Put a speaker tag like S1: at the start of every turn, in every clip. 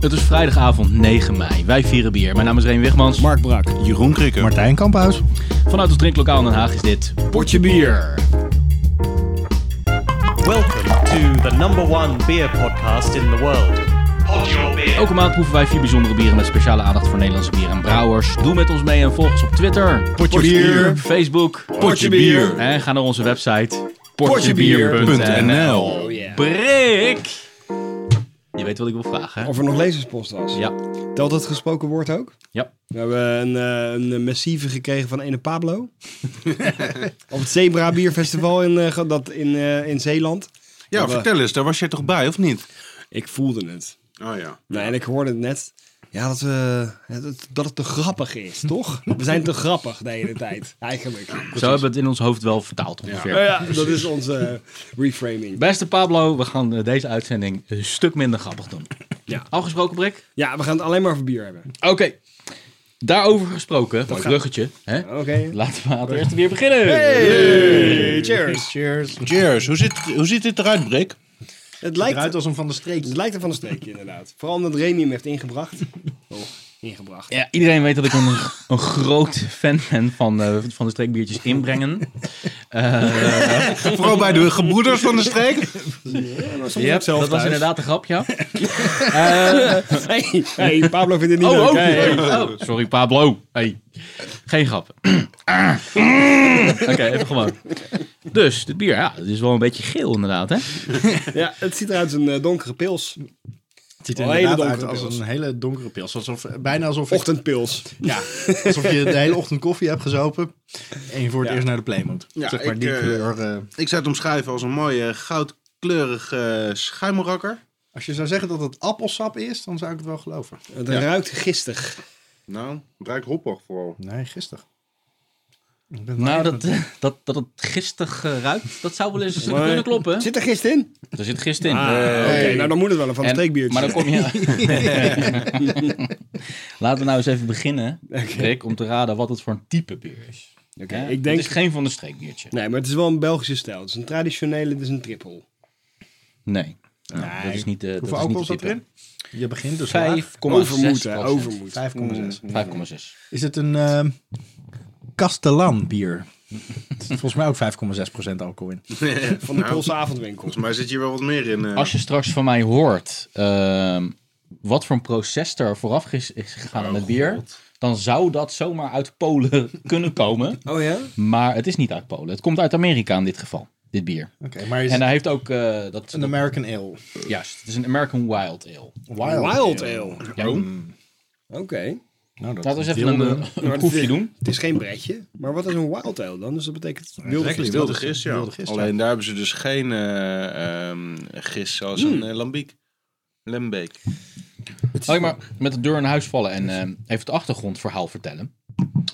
S1: Het is vrijdagavond 9 mei. Wij vieren bier. Mijn naam is Reen Wigmans.
S2: Mark Brak.
S3: Jeroen Krikker.
S4: Martijn Kamphuis.
S1: Vanuit ons drinklokaal in Den Haag is dit Potje Bier.
S5: Welcome to the number one beer podcast in the world. Pod your beer.
S1: Elke maand proeven wij vier bijzondere bieren met speciale aandacht voor Nederlandse bier en brouwers. Doe met ons mee en volg ons op Twitter,
S3: Potje Bier.
S1: Facebook
S3: Potje Bier.
S1: en ga naar onze website
S3: Potjebier.nl
S1: Brik! Je weet wat ik wil vragen, hè?
S2: Of er nog lezerspost was.
S1: Ja,
S2: Telt dat gesproken woord ook?
S1: ja.
S2: We hebben een, eh, een massieve gekregen van ene Pablo. Op het Zebra Bierfestival in, eh, ge- dat in, eh, in Zeeland.
S3: Ja, vertel eens, daar was jij toch bij, of niet?
S2: Ik voelde het.
S3: Oh ja.
S2: Nee, en ik hoorde het net. Ja, dat, we, dat, dat het te grappig is, toch? We zijn te grappig de hele tijd, eigenlijk.
S1: Zo hebben we het in ons hoofd wel vertaald ongeveer.
S2: Nou ja, dat is onze eh, reframing.
S1: Beste Pablo, we gaan eh, deze uitzending een stuk minder grappig doen.
S2: Ja.
S1: Afgesproken, Brik?
S2: Ja, we gaan het alleen maar over bier hebben.
S1: Oké. Daarover gesproken, mooi
S2: gaat-
S1: bruggetje. Hè?
S2: Oké.
S1: Laten we aan het eerste weer beginnen.
S2: Hey, cheers.
S4: Cheers.
S3: Cheers, hoe ziet, hoe ziet dit eruit, Brik?
S2: Het
S4: Lijkt
S2: lijkt,
S4: eruit als een van de streek.
S2: het lijkt er van een streekje, inderdaad. Vooral omdat Remy hem heeft ingebracht. Oh, ingebracht.
S1: Ja, iedereen weet dat ik een, een groot fan ben van, eh, van de streekbiertjes inbrengen.
S3: Vooral bij de gebroeders van de streek.
S1: Ja, dat was inderdaad een grap, ja.
S2: Hey, hey, Pablo vindt het niet
S1: Oh,
S2: leuk.
S1: oh,
S2: Hey, hey.
S1: hey, oh. sorry Pablo. Hey. Geen grap. Ah. Oké, even gewoon. Dus, dit bier, ja, het is wel een beetje geel inderdaad, hè?
S2: Ja, het ziet eruit als een eh, donkere pils.
S4: Het ziet
S2: Wel
S4: er
S2: hele
S4: inderdaad uit
S2: donkere
S4: als
S2: pils.
S4: een hele donkere pils. Alsof, bijna alsof, ik-
S2: Ochtendpils.
S4: ja, alsof je de hele ochtend koffie hebt gezopen en je voor het
S2: Ja.
S4: eerst naar de play moet.
S3: Ja,
S4: zeg maar
S3: ik,
S4: die
S3: eh,
S4: kleur. eh,
S3: Ik zou het omschrijven als een mooie eh, goudkleurige eh, schuimelrakker.
S4: als je zou zeggen dat het appelsap is, dan zou ik het wel geloven.
S2: Het ruikt gistig.
S3: Nou, het ruikt hoppig vooral.
S4: Nee, gisteren.
S1: Nou, dat, eh, dat, dat het gistig eh, ruikt, dat zou wel eens kunnen kloppen.
S2: Zit er gist in?
S1: Er zit gist in.
S2: Ah, Oké, nou dan moet het wel een van een
S1: En-
S2: streekbiertje.
S1: Maar dan kom je. Laten we nou eens even beginnen, Rick, om te raden wat het voor een type bier is.
S2: Oké,
S1: Hè?
S2: ik denk...
S1: Het is geen van de streekbiertje.
S2: Nee, maar het is wel een Belgische stijl. Het is een traditionele, het is een triple.
S1: Nee. Nou, dat is niet de.
S4: Hoeveel
S1: dat is
S4: alcohol
S1: niet de
S4: zat
S1: type.
S4: erin? Je begint dus laag.
S1: 5,6.
S2: Overmoed, hè,
S1: procent.
S2: overmoed.
S4: 5,6.
S1: 5,6.
S4: Mm. Is het een ehm Castellan bier? Er zit Volgens mij ook 5,6% alcohol in.
S2: Van de Poolse avondwinkel.
S3: Volgens mij zit hier wel wat meer in. eh.
S1: Als je straks van mij hoort ehm, wat voor een proces er vooraf is, is gegaan aan het
S2: Oh,
S1: bier, dan zou dat zomaar uit Polen kunnen komen.
S2: Oh ja?
S1: Maar het is niet uit Polen. Het komt uit Amerika in dit geval, dit bier.
S4: Oké, maar is
S1: En
S4: het
S1: hij heeft ook eh, dat,
S4: een American Ale?
S1: Juist, het is een American Wild Ale.
S4: Wild.
S2: Wild ale.
S1: Ja,
S2: Oké.
S4: Nou, dat
S1: Laten we eens
S4: wil
S1: even
S4: de-
S1: een,
S2: eh,
S1: een proefje doen.
S2: Het is geen bretje, maar wat is een wild ale dan? Dus dat betekent wilde
S3: Exactly,
S2: gist.
S3: wilde gist, ja.
S4: Wilde gist, ja.
S3: Alleen daar hebben ze dus geen eh ehm gist zoals een eh, lambiek. Lembeek.
S1: Laat ik maar met de deur in huis vallen en eh, even het achtergrondverhaal vertellen.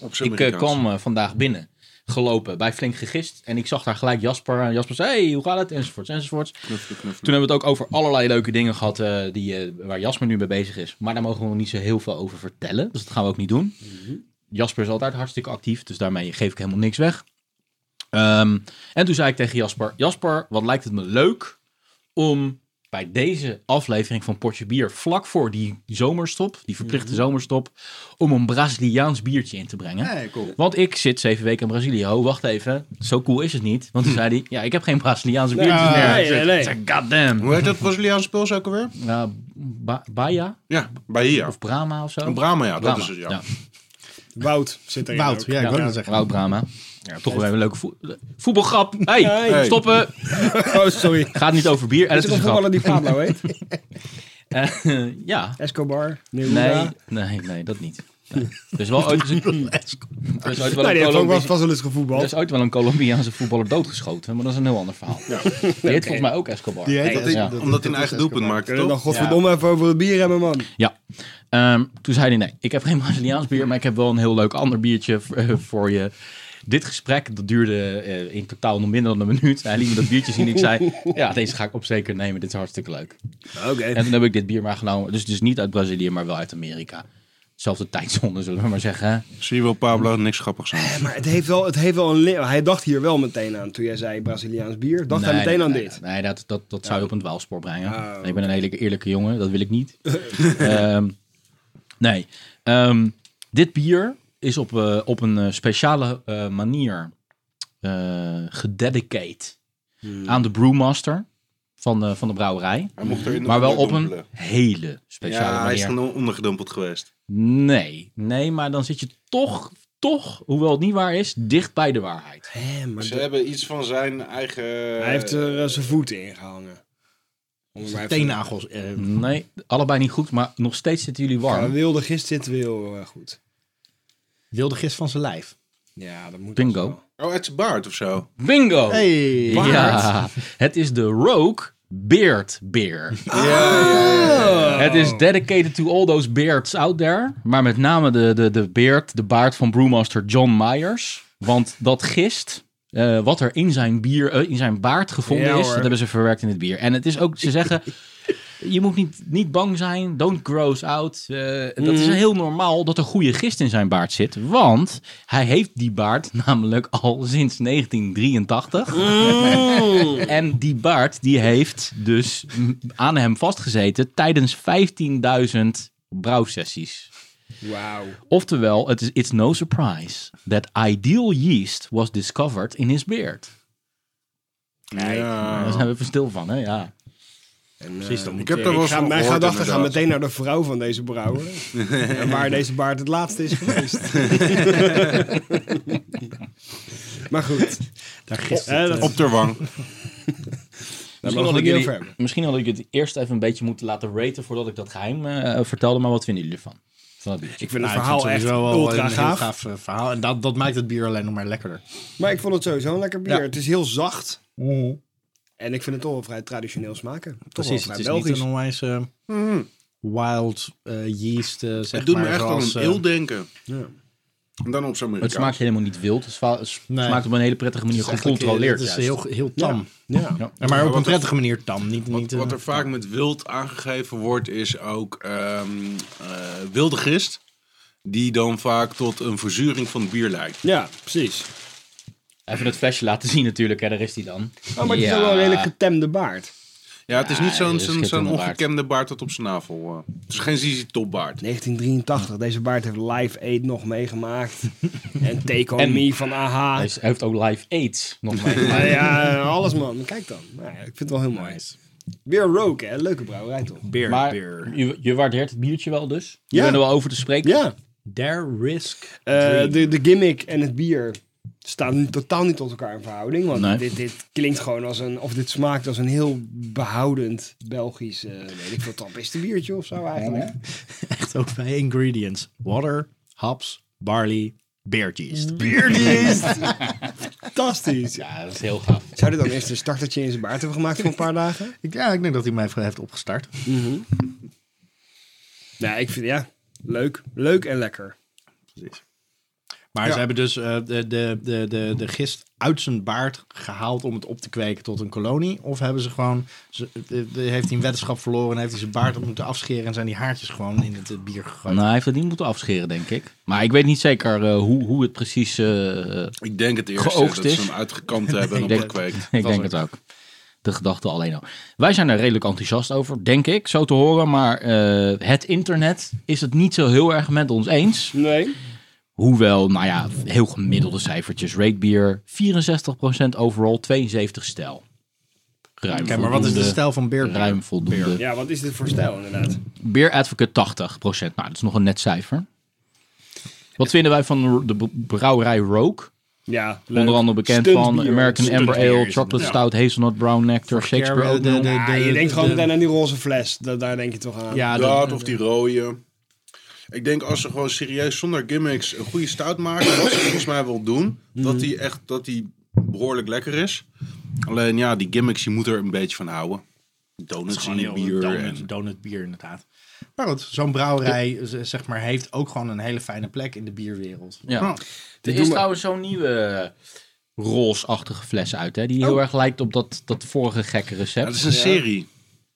S3: Op
S1: Ik eh, kwam eh, vandaag binnen, gelopen bij Flink Gegist. En ik zag daar gelijk Jasper. En Jasper zei, hey, hoe gaat het? Enzovoorts, enzovoorts. Toen hebben we het ook over allerlei leuke dingen gehad eh, die, eh, waar Jasper nu mee bezig is. Maar daar mogen we nog niet zo heel veel over vertellen. Dus dat gaan we ook niet doen.
S2: Mhm.
S1: Jasper is altijd hartstikke actief, dus daarmee geef ik helemaal niks weg. Ehm, en toen zei ik tegen Jasper, Jasper, wat lijkt het me leuk om bij deze aflevering van Potje Bier, vlak voor die zomerstop, die verplichte
S2: Mhm.
S1: zomerstop, om een Braziliaans biertje in te brengen.
S4: Nee, cool.
S1: Want ik zit zeven weken in Brazilië. Ho, wacht even. Zo cool is het niet. Want toen zei hij, ja, ik heb geen Braziliaanse biertjes
S4: Ah,
S1: meer.
S2: nee, nee, nee.
S1: Ik zei, God damn.
S3: Hoe heet dat Braziliaanse pils ook alweer?
S1: Eh, Ba- Baia
S3: Ja, Bahia.
S1: of Brahma of zo?
S3: Een Brahma, ja, dat is het, ja.
S2: Wout zit erin
S4: Wout,
S2: ook.
S4: ja, ik wou dat zeggen.
S1: Wout Brahma. Ja, toch weer een leuke voe- voetbalgrap. Hey,
S2: Hey.
S1: stoppen.
S2: Oh, sorry.
S1: Gaat niet over bier. En
S2: Is
S1: het
S2: er
S1: is
S2: een
S1: een grap.
S2: voetballer die Pablo heet?
S1: Eh, ja.
S2: Escobar?
S1: Nee,
S2: Neruda?
S1: nee, nee, dat niet. Nee. Er is wel ooit, er is ooit wel
S2: Nee,
S1: een
S2: die heeft ook wel-
S1: Colombiaanse-
S2: vast wel eens
S1: er
S2: gevoetbald.
S1: is ooit wel een Colombiaanse voetballer doodgeschoten. Maar dat is een heel ander verhaal. Die heet volgens mij ook Escobar.
S4: Die heet
S1: Nee,
S4: dat
S1: ja.
S4: dat-
S3: Omdat hij
S4: dat
S3: een
S4: is
S3: eigen
S4: echt
S3: doelpunt
S4: wel-
S3: maakt,
S2: Kunnen we dan
S3: toch?
S2: godverdomme even over het bier hebben, man?
S1: Ja. Ehm, toen zei hij: Nee, ik heb geen Braziliaans bier, maar ik heb wel een heel leuk ander biertje v- eh, voor je. Dit gesprek dat duurde eh, in totaal nog minder dan een minuut. Hij liet me dat biertje zien. Ik zei: Ja, deze ga ik op zeker nemen. Dit is hartstikke leuk.
S2: Oké.
S1: En toen heb ik dit bier maar genomen. Dus het is niet uit Brazilië, maar wel uit Amerika. Het Zelfde tijdzone, zullen we maar zeggen. hè?
S3: Zie je wel, Pablo, niks grappigs aan.
S2: Maar het heeft wel, het heeft wel een... li- Hij dacht hier wel meteen aan, toen jij zei Braziliaans bier. Dacht hij
S1: Nee,
S2: meteen
S1: nee,
S2: aan
S1: nee,
S2: dit.
S1: Nee, dat, dat, dat zou je op een dwaalspoor brengen.
S2: Ah,
S1: ik ben een hele eerlijke jongen, dat wil ik niet. Ehm, nee. Ehm, dit bier is op, eh, op een eh, speciale eh, manier eh gededicate aan de brewmaster van de, van de brouwerij.
S3: Hij mocht er in de
S1: Maar wel op
S3: onderdompelen.
S1: een hele speciale
S3: Ja, hij is
S1: manier.
S3: dan ondergedompeld geweest.
S1: Nee, nee, maar dan zit je toch, toch, hoewel het niet waar is, dicht bij de waarheid.
S2: Hè, maar
S3: Ze
S2: dat-
S3: hebben iets van zijn eigen...
S2: hij heeft er eh, zijn voeten in gehangen. Om hem
S4: Zijn
S2: even-
S4: Teennagels. eh,
S1: Nee, allebei niet goed, maar nog steeds zitten jullie
S2: Ja,
S1: warm.
S2: wilde gist zit heel eh, goed.
S4: wilde gist van zijn lijf.
S2: Ja, dat moet
S1: Bingo.
S2: als wel.
S3: Oh, uit zijn baard of zo.
S1: Bingo!
S4: Hey.
S1: Ja, het is de Rogue Beard Beer. Het is dedicated to all those beards out there. Maar met name de, de, de beard, de baard van brewmaster John Myers. Want dat gist eh, wat er in zijn, bier, eh, in zijn baard gevonden
S2: Ja,
S1: is,
S2: hoor.
S1: dat hebben ze verwerkt in het bier. En het is ook, ze zeggen, je moet niet, niet bang zijn, don't gross out. Eh, Dat is heel normaal dat er goede gist in zijn baard zit. Want hij heeft die baard namelijk al sinds 1983. En die baard die heeft dus m- aan hem vastgezeten tijdens 15.000 brouwsessies.
S2: Wauw.
S1: Oftewel, het is it's no surprise that ideal yeast was discovered in his beard.
S2: Nee.
S3: Ja.
S2: Oh.
S1: Daar zijn we even stil van, hè? Ja.
S2: Precies, dan
S3: ik heb daar wel eens
S2: ga,
S3: van
S2: Mijn
S3: gehoord,
S2: gedachten gaan
S3: inderdaad.
S2: meteen naar de vrouw van deze brouwer. en waar deze baard het laatste is geweest. maar goed.
S4: Daar gist
S2: Eh, dat-
S3: Op de wang.
S2: mogen
S1: Misschien had,
S2: we
S1: ik
S2: niet
S1: jullie-
S2: over hebben.
S1: misschien had ik het eerst even een beetje moeten laten raten voordat ik dat geheim eh, vertelde. Maar wat vinden jullie ervan? Van dat biertje?
S2: ik vind het
S4: Nou, ik
S2: verhaal
S4: vind
S2: echt
S4: het sowieso wel
S2: ultra
S4: een heel
S2: gaaf.
S4: gaaf eh, verhaal. En dat, dat maakt het bier alleen nog maar lekkerder.
S2: Maar ik vond het sowieso een lekker bier.
S4: Ja.
S2: Het is heel zacht. En ik vind het toch wel vrij traditioneel smaken. Toch
S4: Precies,
S2: wel vrij
S4: het is
S2: Belgisch.
S4: niet een onwijs eh, wild eh, yeast, eh, zeg
S3: Mhm. Het doet
S4: maar.
S3: me echt
S4: zoals,
S3: aan
S4: eh,
S3: een eeuw denken.
S2: Ja.
S3: En dan op zo'n
S1: Het
S3: Amerikaans.
S1: smaakt helemaal niet wild. Het sma- het
S4: Nee.
S1: smaakt op een hele prettige manier gecontroleerd.
S4: eh, Het is
S1: juist.
S4: heel, heel tam.
S2: Ja.
S1: Ja.
S4: Ja, Maar op
S3: wat
S4: een
S3: er-
S4: prettige manier tam. Niet, niet,
S3: Wat,
S4: eh,
S3: wat er vaak met wild aangegeven wordt, is ook ehm, eh, wilde gist. Die dan vaak tot een verzuring van het bier leidt.
S2: ja, precies.
S1: Even het flesje laten zien natuurlijk, hè, daar is hij dan.
S2: Oh, maar het is ook wel een redelijk getemde baard.
S3: Ja, het is
S1: Ja,
S3: niet zo'n
S1: dat is
S3: zo'n zo'n
S1: schitterende baard.
S3: ongekende baard tot op zijn navel. eh. Het is geen ZZ topbaard.
S2: 1983. Deze baard heeft Live Aid nog meegemaakt. en Take On
S1: En-
S2: Me van AHA.
S1: Hij is- hij heeft ook live AIDS nog mee.
S2: Ja, Nou ja, alles man. Kijk dan. Nou, ja, ik vind het wel heel mooi. Weer roken, hè? Leuke brouwerij toch?
S4: Beer,
S1: maar
S4: beer.
S1: je, je waardeert het biertje wel dus? Je
S2: Ja.
S1: bent er wel over te spreken?
S2: Ja.
S4: Their risk.
S2: Eh, de, de gimmick en het bier staan nu totaal niet tot elkaar in verhouding. Want
S1: Nee.
S2: dit, dit klinkt gewoon als een... Of dit smaakt als een heel behoudend Belgisch... eh weet ik veel, trappiste biertje of zo eigenlijk.
S4: Echt ook bij ingredients. Water, hops, barley, beer yeast.
S2: Bierdienst! Fantastisch.
S1: Ja, dat is heel gaaf.
S2: Zou dit dan eerst een startertje in zijn baard hebben gemaakt voor een paar dagen?
S4: Ik- Ja, ik denk dat hij mij heeft opgestart.
S2: Nou, ik vind... Ja, leuk. Leuk en lekker.
S4: Maar
S2: Ja.
S4: ze hebben dus eh, de, de, de, de, de gist uit zijn baard gehaald om het op te kweken tot een kolonie. Of hebben ze gewoon, ze, de- de- heeft hij een weddenschap verloren en heeft hij zijn baard op moeten afscheren en zijn die haartjes gewoon in het, eh, bier gegooid.
S1: Nou, hij heeft het niet moeten afscheren, denk ik. Maar ik weet niet zeker eh, hoe, hoe het precies... eh, eh,
S3: Ik denk het eerst
S1: Geoogst
S3: dat ze
S1: is.
S3: hem uitgekampt hebben en
S1: Ik denk-
S3: opgekweekt.
S1: ik denk het ook. De gedachte alleen al. Wij zijn er redelijk enthousiast over, denk ik, zo te horen. Maar eh, het internet is het niet zo heel erg met ons eens.
S2: Nee.
S1: Hoewel, nou ja, heel gemiddelde cijfertjes. Ratebeer 64% overall, 72 stijl. Ruim
S4: Kijk, maar wat is de
S1: voldoende.
S4: stijl van beer?
S1: Ruim voldoende.
S2: Ja, wat is dit voor stijl inderdaad?
S1: Beer Advocate 80%. Nou, dat is nog een net cijfer. Wat vinden wij van de b- brouwerij Rogue?
S2: Ja, leuk.
S1: Onder andere bekend
S2: Stunt
S1: van
S2: bier.
S1: American
S2: Stunt
S1: Amber
S2: bier
S1: Ale,
S2: is
S1: Chocolate
S2: het.
S1: Stout, Hazelnut Brown Nectar,
S4: Vorig jaar
S1: Shakespeare
S4: wel
S1: Oat
S4: de-
S1: Milk.
S4: de-
S2: Ah, je
S4: de-
S2: denkt gewoon
S4: de-
S2: meteen aan die roze fles. Da- daar denk je toch aan.
S4: Ja, de-
S3: dat of die rode. Ik denk als ze gewoon serieus zonder gimmicks een goede stout maken, wat ze volgens mij wel doen, dat die echt dat die behoorlijk lekker is. Alleen ja, die gimmicks, je moet er een beetje van houden.
S4: Het is
S3: Donuts in
S4: gewoon
S3: je
S4: heel
S3: bier.
S4: donut,
S3: en-
S4: donutbier inderdaad. Maar goed, zo'n brouwerij z- zeg maar, heeft ook gewoon een hele fijne plek in de bierwereld.
S1: Ja. Er
S2: doen
S1: is
S2: we-
S1: trouwens zo'n nieuwe roosachtige fles uit, hè, die heel erg lijkt op dat, dat vorige gekke recept.
S3: Ja, dat is een serie.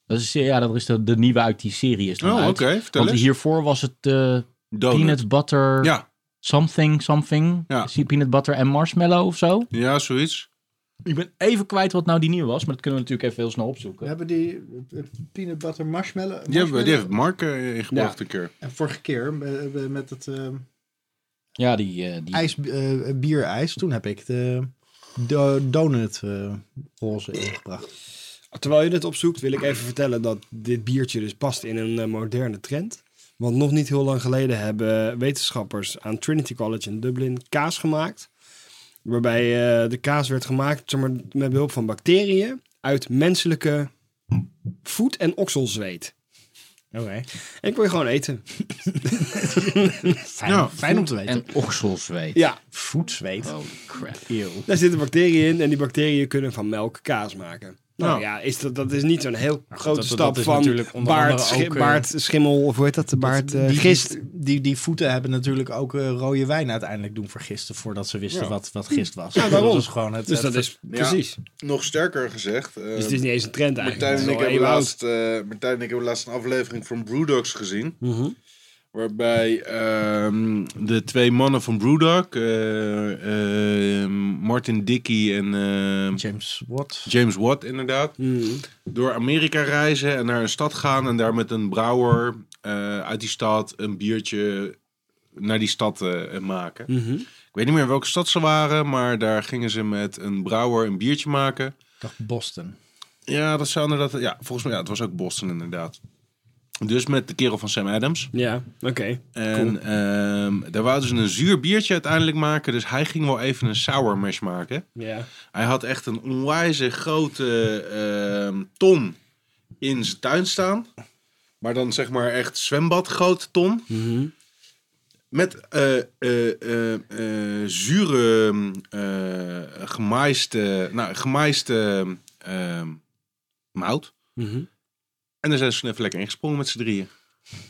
S1: Dat is, ja, dat is de, de nieuwe uit die serie. Is dan
S3: Oh,
S1: uit.
S3: oké, vertel
S1: Want
S3: eens.
S1: hiervoor was het eh,
S3: Donut.
S1: peanut butter
S3: Ja,
S1: something, something.
S3: Ja.
S1: Is die peanut butter en marshmallow of zo?
S3: ja, zoiets.
S1: Ik ben even kwijt wat nou die nieuwe was, maar dat kunnen we natuurlijk even heel snel opzoeken.
S4: hebben die eh, peanut butter marshmallow.
S3: Die, hebben, die heeft
S4: marshmallow.
S3: Mark eh, ingebracht
S1: Ja.
S3: een keer.
S4: En vorige keer eh, met het eh,
S1: Ja, die, eh, die
S4: ijs, eh, bierijs, toen heb ik de, do- donut eh, roze ingebracht.
S2: Terwijl je dit opzoekt, wil ik even vertellen dat dit biertje dus past in een eh, moderne trend. Want nog niet heel lang geleden hebben wetenschappers aan Trinity College in Dublin kaas gemaakt. Waarbij eh, de kaas werd gemaakt zeg maar, met behulp van bacteriën uit menselijke voet- en okselzweet.
S4: Oké.
S2: En ik kon je gewoon eten.
S4: Fijn,
S3: Ja.
S4: fijn om te weten.
S1: en okselzweet.
S2: Ja,
S4: Voetzweet.
S1: Oh crap.
S2: daar zitten bacteriën in en die bacteriën kunnen van melk kaas maken. Nou
S3: Nou.
S2: ja, is dat, dat is niet zo'n heel grote
S4: dat- dat
S2: stap
S4: is natuurlijk
S2: van
S4: onder
S2: baard,
S4: andere ook, eh,
S2: schimmel, of hoe heet dat? Baard, eh, gist.
S4: Die, die voeten hebben natuurlijk ook eh, rode wijn uiteindelijk doen vergisten voordat ze wisten
S3: Ja.
S4: wat, wat gist was.
S2: Ja, daarom.
S4: Dat was gewoon het,
S2: Dus
S4: het
S2: dat is precies.
S3: precies. Nog sterker gezegd. eh,
S2: Dus het is niet eens een trend eigenlijk.
S3: Martijn en, ik
S2: Het is
S3: hebben
S2: al
S3: laatst, eh, Martijn en ik hebben laatst een aflevering van Brewdogs gezien.
S2: eeuwenoud. Mhm.
S3: Waarbij ehm, de twee mannen van Brewdog, eh, eh, Martin Dickey en eh,
S4: James Watt.
S3: James Watt inderdaad,
S2: Mhm.
S3: door Amerika reizen en naar een stad gaan en daar met een brouwer eh, uit die stad een biertje naar die stad eh, maken.
S2: Mhm.
S3: Ik weet niet meer welke stad ze waren, maar daar gingen ze met een brouwer een biertje maken.
S4: Ik dacht Boston.
S3: Ja, dat zou inderdaad. Ja, volgens mij, ja, het was ook Boston inderdaad. Dus met de kerel van Sam Adams.
S2: Ja, oké.
S3: En ehm, daar wouden ze een zuur biertje uiteindelijk maken. Dus hij ging wel even een sour mash maken.
S2: Ja.
S3: Hij had echt een onwijze grote ehm, ton in zijn tuin staan. Maar dan zeg maar echt zwembadgrote ton.
S2: Mhm.
S3: Met eh, eh, eh, eh, zure, eh gemaiste, nou, gemaiste ehm, mout.
S2: Mhm.
S3: En daar zijn ze even lekker ingesprongen met z'n drieën.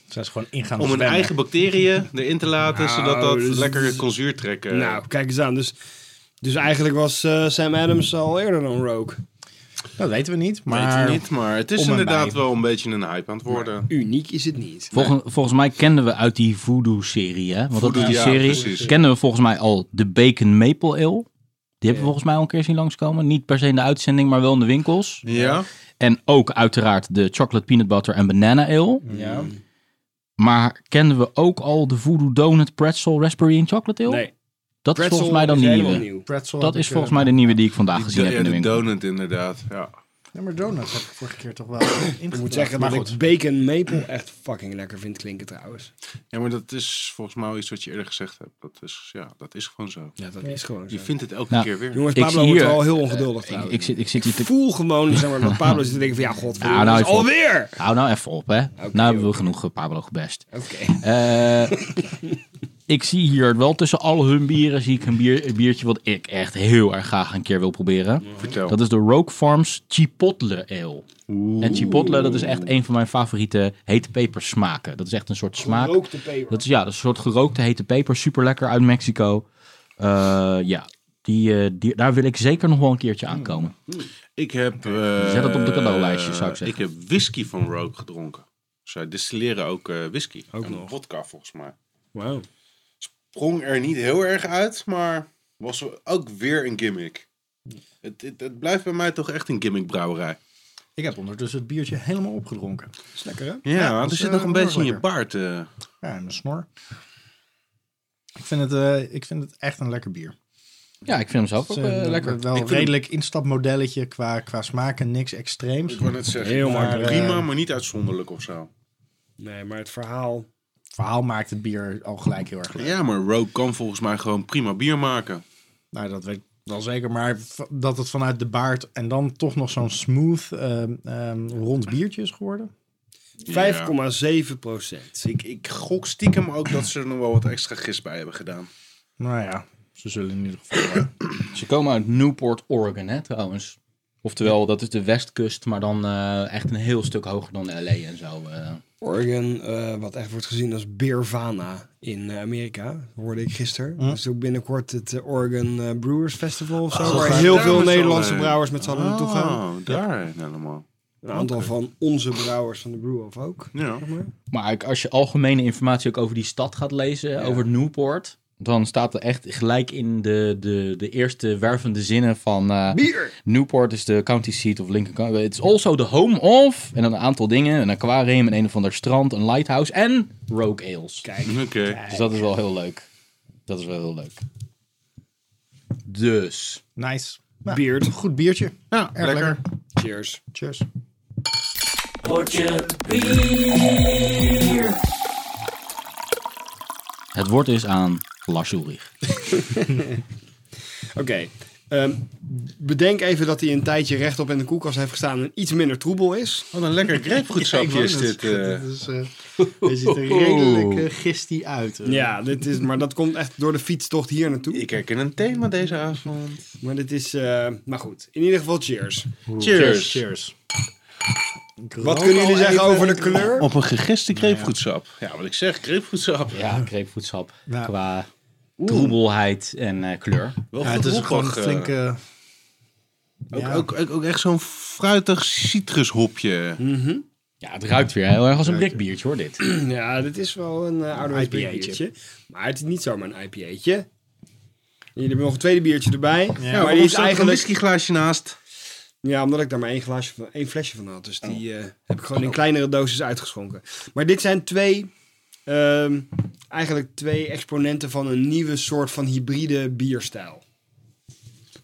S4: Zijn ze gewoon ingaan
S3: Om hun
S4: zwemmen.
S3: eigen bacteriën erin te laten,
S2: Nou,
S3: zodat dat
S2: dus-
S3: lekker kon zuurtrekken.
S2: Nou, kijk eens aan. Dus, dus eigenlijk was eh, Sam Adams al eerder dan Rogue.
S4: Dat weten we niet, maar...
S3: maar, niet, maar het is
S4: om en
S3: inderdaad
S4: bij.
S3: wel een beetje een hype aan het worden.
S2: Uniek is het niet.
S1: Volgens, volgens mij kenden we uit die Voodoo-serie, hè? Want dat
S3: Voodoo,
S1: is die
S3: ja,
S1: serie.
S3: precies.
S1: Kenden we volgens mij al de Bacon Maple Ale. Die hebben we volgens mij al een keer zien langskomen. Niet per se in de uitzending, maar wel in de winkels.
S3: Ja?
S1: En ook uiteraard de Chocolate Peanut Butter en Banana Ale.
S4: Ja.
S1: Maar kenden we ook al de Voodoo Donut Pretzel Raspberry en Chocolate Ale?
S2: Nee,
S1: Dat
S2: pretzel
S1: is volgens mij dan
S2: is
S1: die
S2: helemaal
S1: nieuwe.
S2: nieuw.
S4: Pretzel
S1: Dat
S4: heb
S1: is
S4: ik,
S1: volgens
S4: eh,
S1: mij de nieuwe die ik vandaag gezien
S3: Die,
S1: heb
S3: ja,
S1: in de
S3: de
S1: winkel.
S3: donut inderdaad. Ja.
S4: Ja, maar donuts heb ik vorige keer toch wel ingebracht.
S2: Ik moet zeggen
S4: maar
S2: dat
S4: goed.
S2: ik bacon maple echt fucking lekker vind klinken trouwens.
S3: ja, maar dat is volgens mij wel iets wat je eerder gezegd hebt. Dat is, ja, dat is gewoon zo.
S2: Ja, dat is gewoon zo.
S3: Je vindt het elke
S1: Nou,
S3: keer weer.
S2: Jongens,
S1: Ik
S2: Pablo
S1: zie
S2: wordt
S1: hier- eh,
S2: al heel ongeduldig
S1: Ik,
S2: trouwens.
S1: ik zit, ik zit hier
S2: Ik
S1: te...
S2: voel gewoon, zeg maar, dat Pablo zit te denken van ja, god,
S1: Ah, nou, even op.
S2: alweer!
S1: Hou nou even op, hè. nou hebben we genoeg eh, Pablo gebest.
S2: Oké.
S1: Eh, ik zie hier wel tussen al hun bieren zie ik een, bier, een biertje wat ik echt heel erg graag een keer wil proberen.
S3: Vertel.
S1: Dat is de Rogue Farms Chipotle Ale. En chipotle, dat is echt een van mijn favoriete hete pepersmaken. Dat is echt een soort smaak.
S2: Rookte peper.
S1: Dat is ja, dat is een soort gerookte hete peper. Super lekker uit Mexico. Eh, ja, die, eh, die, daar wil ik zeker nog wel een keertje
S2: Hmm.
S1: aankomen.
S3: Ik heb...
S1: Zet
S3: dat
S1: het op de cadeaulijstje, zou ik zeggen.
S3: Ik heb whisky van Rogue gedronken. Zij distilleren ook eh, whisky. Ook en vodka volgens mij.
S2: Wauw.
S3: Sprong er niet heel erg uit, maar was ook weer een gimmick. Het, het, het blijft bij mij toch echt een gimmickbrouwerij.
S4: Ik heb ondertussen het biertje helemaal opgedronken.
S2: is lekker hè? dus,
S3: Ja, want
S4: dat
S3: er
S4: is,
S3: zit
S4: eh,
S3: nog een beetje in je
S4: lekker.
S3: baard. eh.
S4: Ja, en mijn snor. Ik vind, het, eh, ik vind het echt een lekker bier.
S1: Ja, ik vind hem zelf ook
S4: Het is, eh,
S1: eh, lekker.
S4: Wel een redelijk instapmodelletje qua, qua smaak en niks extreems.
S3: Ik wou net zeggen,
S2: Heel
S3: maar
S2: makkelijk.
S3: prima, maar niet uitzonderlijk of zo.
S2: Nee, maar het verhaal...
S4: Het verhaal maakt het bier al gelijk heel erg leuk.
S3: Ja, maar Rogue kan volgens mij gewoon prima bier maken.
S4: Nou, dat weet ik wel zeker. Maar v- dat het vanuit de baard en dan toch nog zo'n smooth ehm, ehm, rond biertje is geworden.
S2: 5,7 procent.
S3: Ik, ik gok stiekem ook dat ze er nog wel wat extra gist bij hebben gedaan.
S4: Nou ja, ze zullen in ieder geval... eh,
S1: Ze komen uit Newport, Oregon, hè, trouwens. Oftewel, dat is de westkust, maar dan eh, echt een heel stuk hoger dan LA en zo. eh.
S2: Oregon, eh, wat echt wordt gezien als Beervana in eh, Amerika, hoorde ik gisteren. Dat is ook binnenkort het eh, Oregon eh, Brewers Festival of zo, waar
S3: gaat
S2: heel
S3: daar
S2: veel
S3: met z'n
S2: Nederlandse
S3: allen heen?
S4: Ah.
S2: brouwers met z'n allen naartoe gaan.
S3: Ah, daar helemaal.
S2: Een aantal van onze brouwers van de Brew of ook.
S3: Ja.
S2: Zeg maar.
S1: Maar eigenlijk als je algemene informatie ook over die stad gaat lezen, over Newport, dan staat er echt gelijk in de, de, de eerste wervende zinnen van eh, Newport is de county seat of Lincoln County. It's also the home of, en dan een aantal dingen, een aquarium, en een of ander strand, een lighthouse en rogue ales.
S3: Oké.
S1: Dus dat is wel heel leuk. Dat is wel heel leuk. Dus,
S4: Nice. Nou,
S2: Beard.
S4: Goed biertje.
S3: Ja,
S4: Erg
S3: lekker.
S4: lekker.
S2: Cheers.
S4: Cheers.
S1: het woord is aan Lars Ulrich.
S2: Oké. ehm, bedenk even dat hij een tijdje rechtop in de koelkast heeft gestaan en iets minder troebel is.
S3: Wat een lekker grapefruitsapje is dit. eh.
S4: is, er ziet er redelijk eh, gistie uit. eh.
S2: Ja, dit is, maar dat komt echt door de fietstocht hier naartoe.
S3: Ik herken een thema deze avond.
S2: Maar dit is, eh, maar goed. In ieder geval cheers.
S3: Cheers.
S4: Cheers. Ik
S2: Wat
S4: rook
S2: kunnen jullie
S4: al
S2: zeggen
S4: even.
S2: over de kleur?
S3: Op een gegiste grapefruitsap. Nou Ja, wat ik zeg, grapefruitsap.
S1: Ja, grapefruitsap.
S4: Ja.
S1: Qua troebelheid en eh, kleur.
S3: Wel
S4: Ja, het is
S3: gedroppig,
S4: gewoon een
S3: eh.
S4: flinke...
S3: Ook,
S4: Ja.
S3: ook, ook, ook echt zo'n fruitig citrushopje.
S1: Ja, het ruikt weer heel erg als een blikbiertje hoor, dit.
S2: Ja, dit is wel een uh, ouderwets
S4: IPA'tje.
S2: biertje. Maar het is niet zomaar een IPA'tje. Jullie hebben nog een tweede biertje erbij. maar die
S3: er
S2: is
S3: staat een
S2: eigenlijk...
S3: whiskyglaasje naast.
S2: Ja, omdat ik daar maar één, glaasje van, één flesje van had. Dus die eh, heb ik gewoon in kleinere doses uitgeschonken. Maar dit zijn twee... ehm, eigenlijk twee exponenten van een nieuwe soort van hybride bierstijl.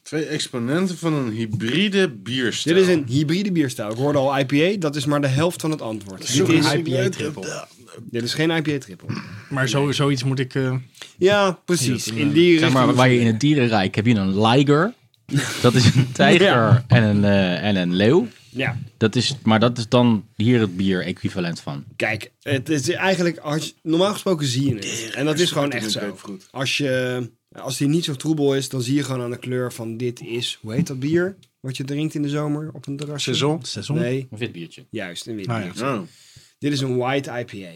S3: Twee exponenten van een hybride bierstijl.
S2: Dit is een hybride bierstijl. Ik hoorde al IPA, dat is maar de helft van het antwoord. Dit
S4: Zo'n
S2: is,
S4: IPA triple.
S2: dit is geen IPA triple.
S4: Maar zo, zoiets moet ik... eh,
S2: Ja, precies. In die
S1: Zeg maar,
S2: richting-
S1: waar je in het dierenrijk heb je een liger. Dat is een tijger
S2: Ja.
S1: en, een, eh, en een leeuw.
S2: Ja,
S1: Dat is, maar dat is dan hier het bier-equivalent van.
S2: Kijk, het is eigenlijk, als je- normaal gesproken zie je het. En dat is gewoon
S3: in
S2: echt
S3: een
S2: zo.
S3: grapefruit.
S2: Als, je, als die niet zo troebel is, dan zie je gewoon aan de kleur van dit is, hoe heet dat bier? Wat je drinkt in de zomer op een terrasje?
S3: Saison?
S4: Saison?
S2: Nee,
S1: Een wit biertje.
S2: juist, een wit
S4: Ah, ja.
S2: bier.
S3: Oh,
S2: Dit is een white IPA.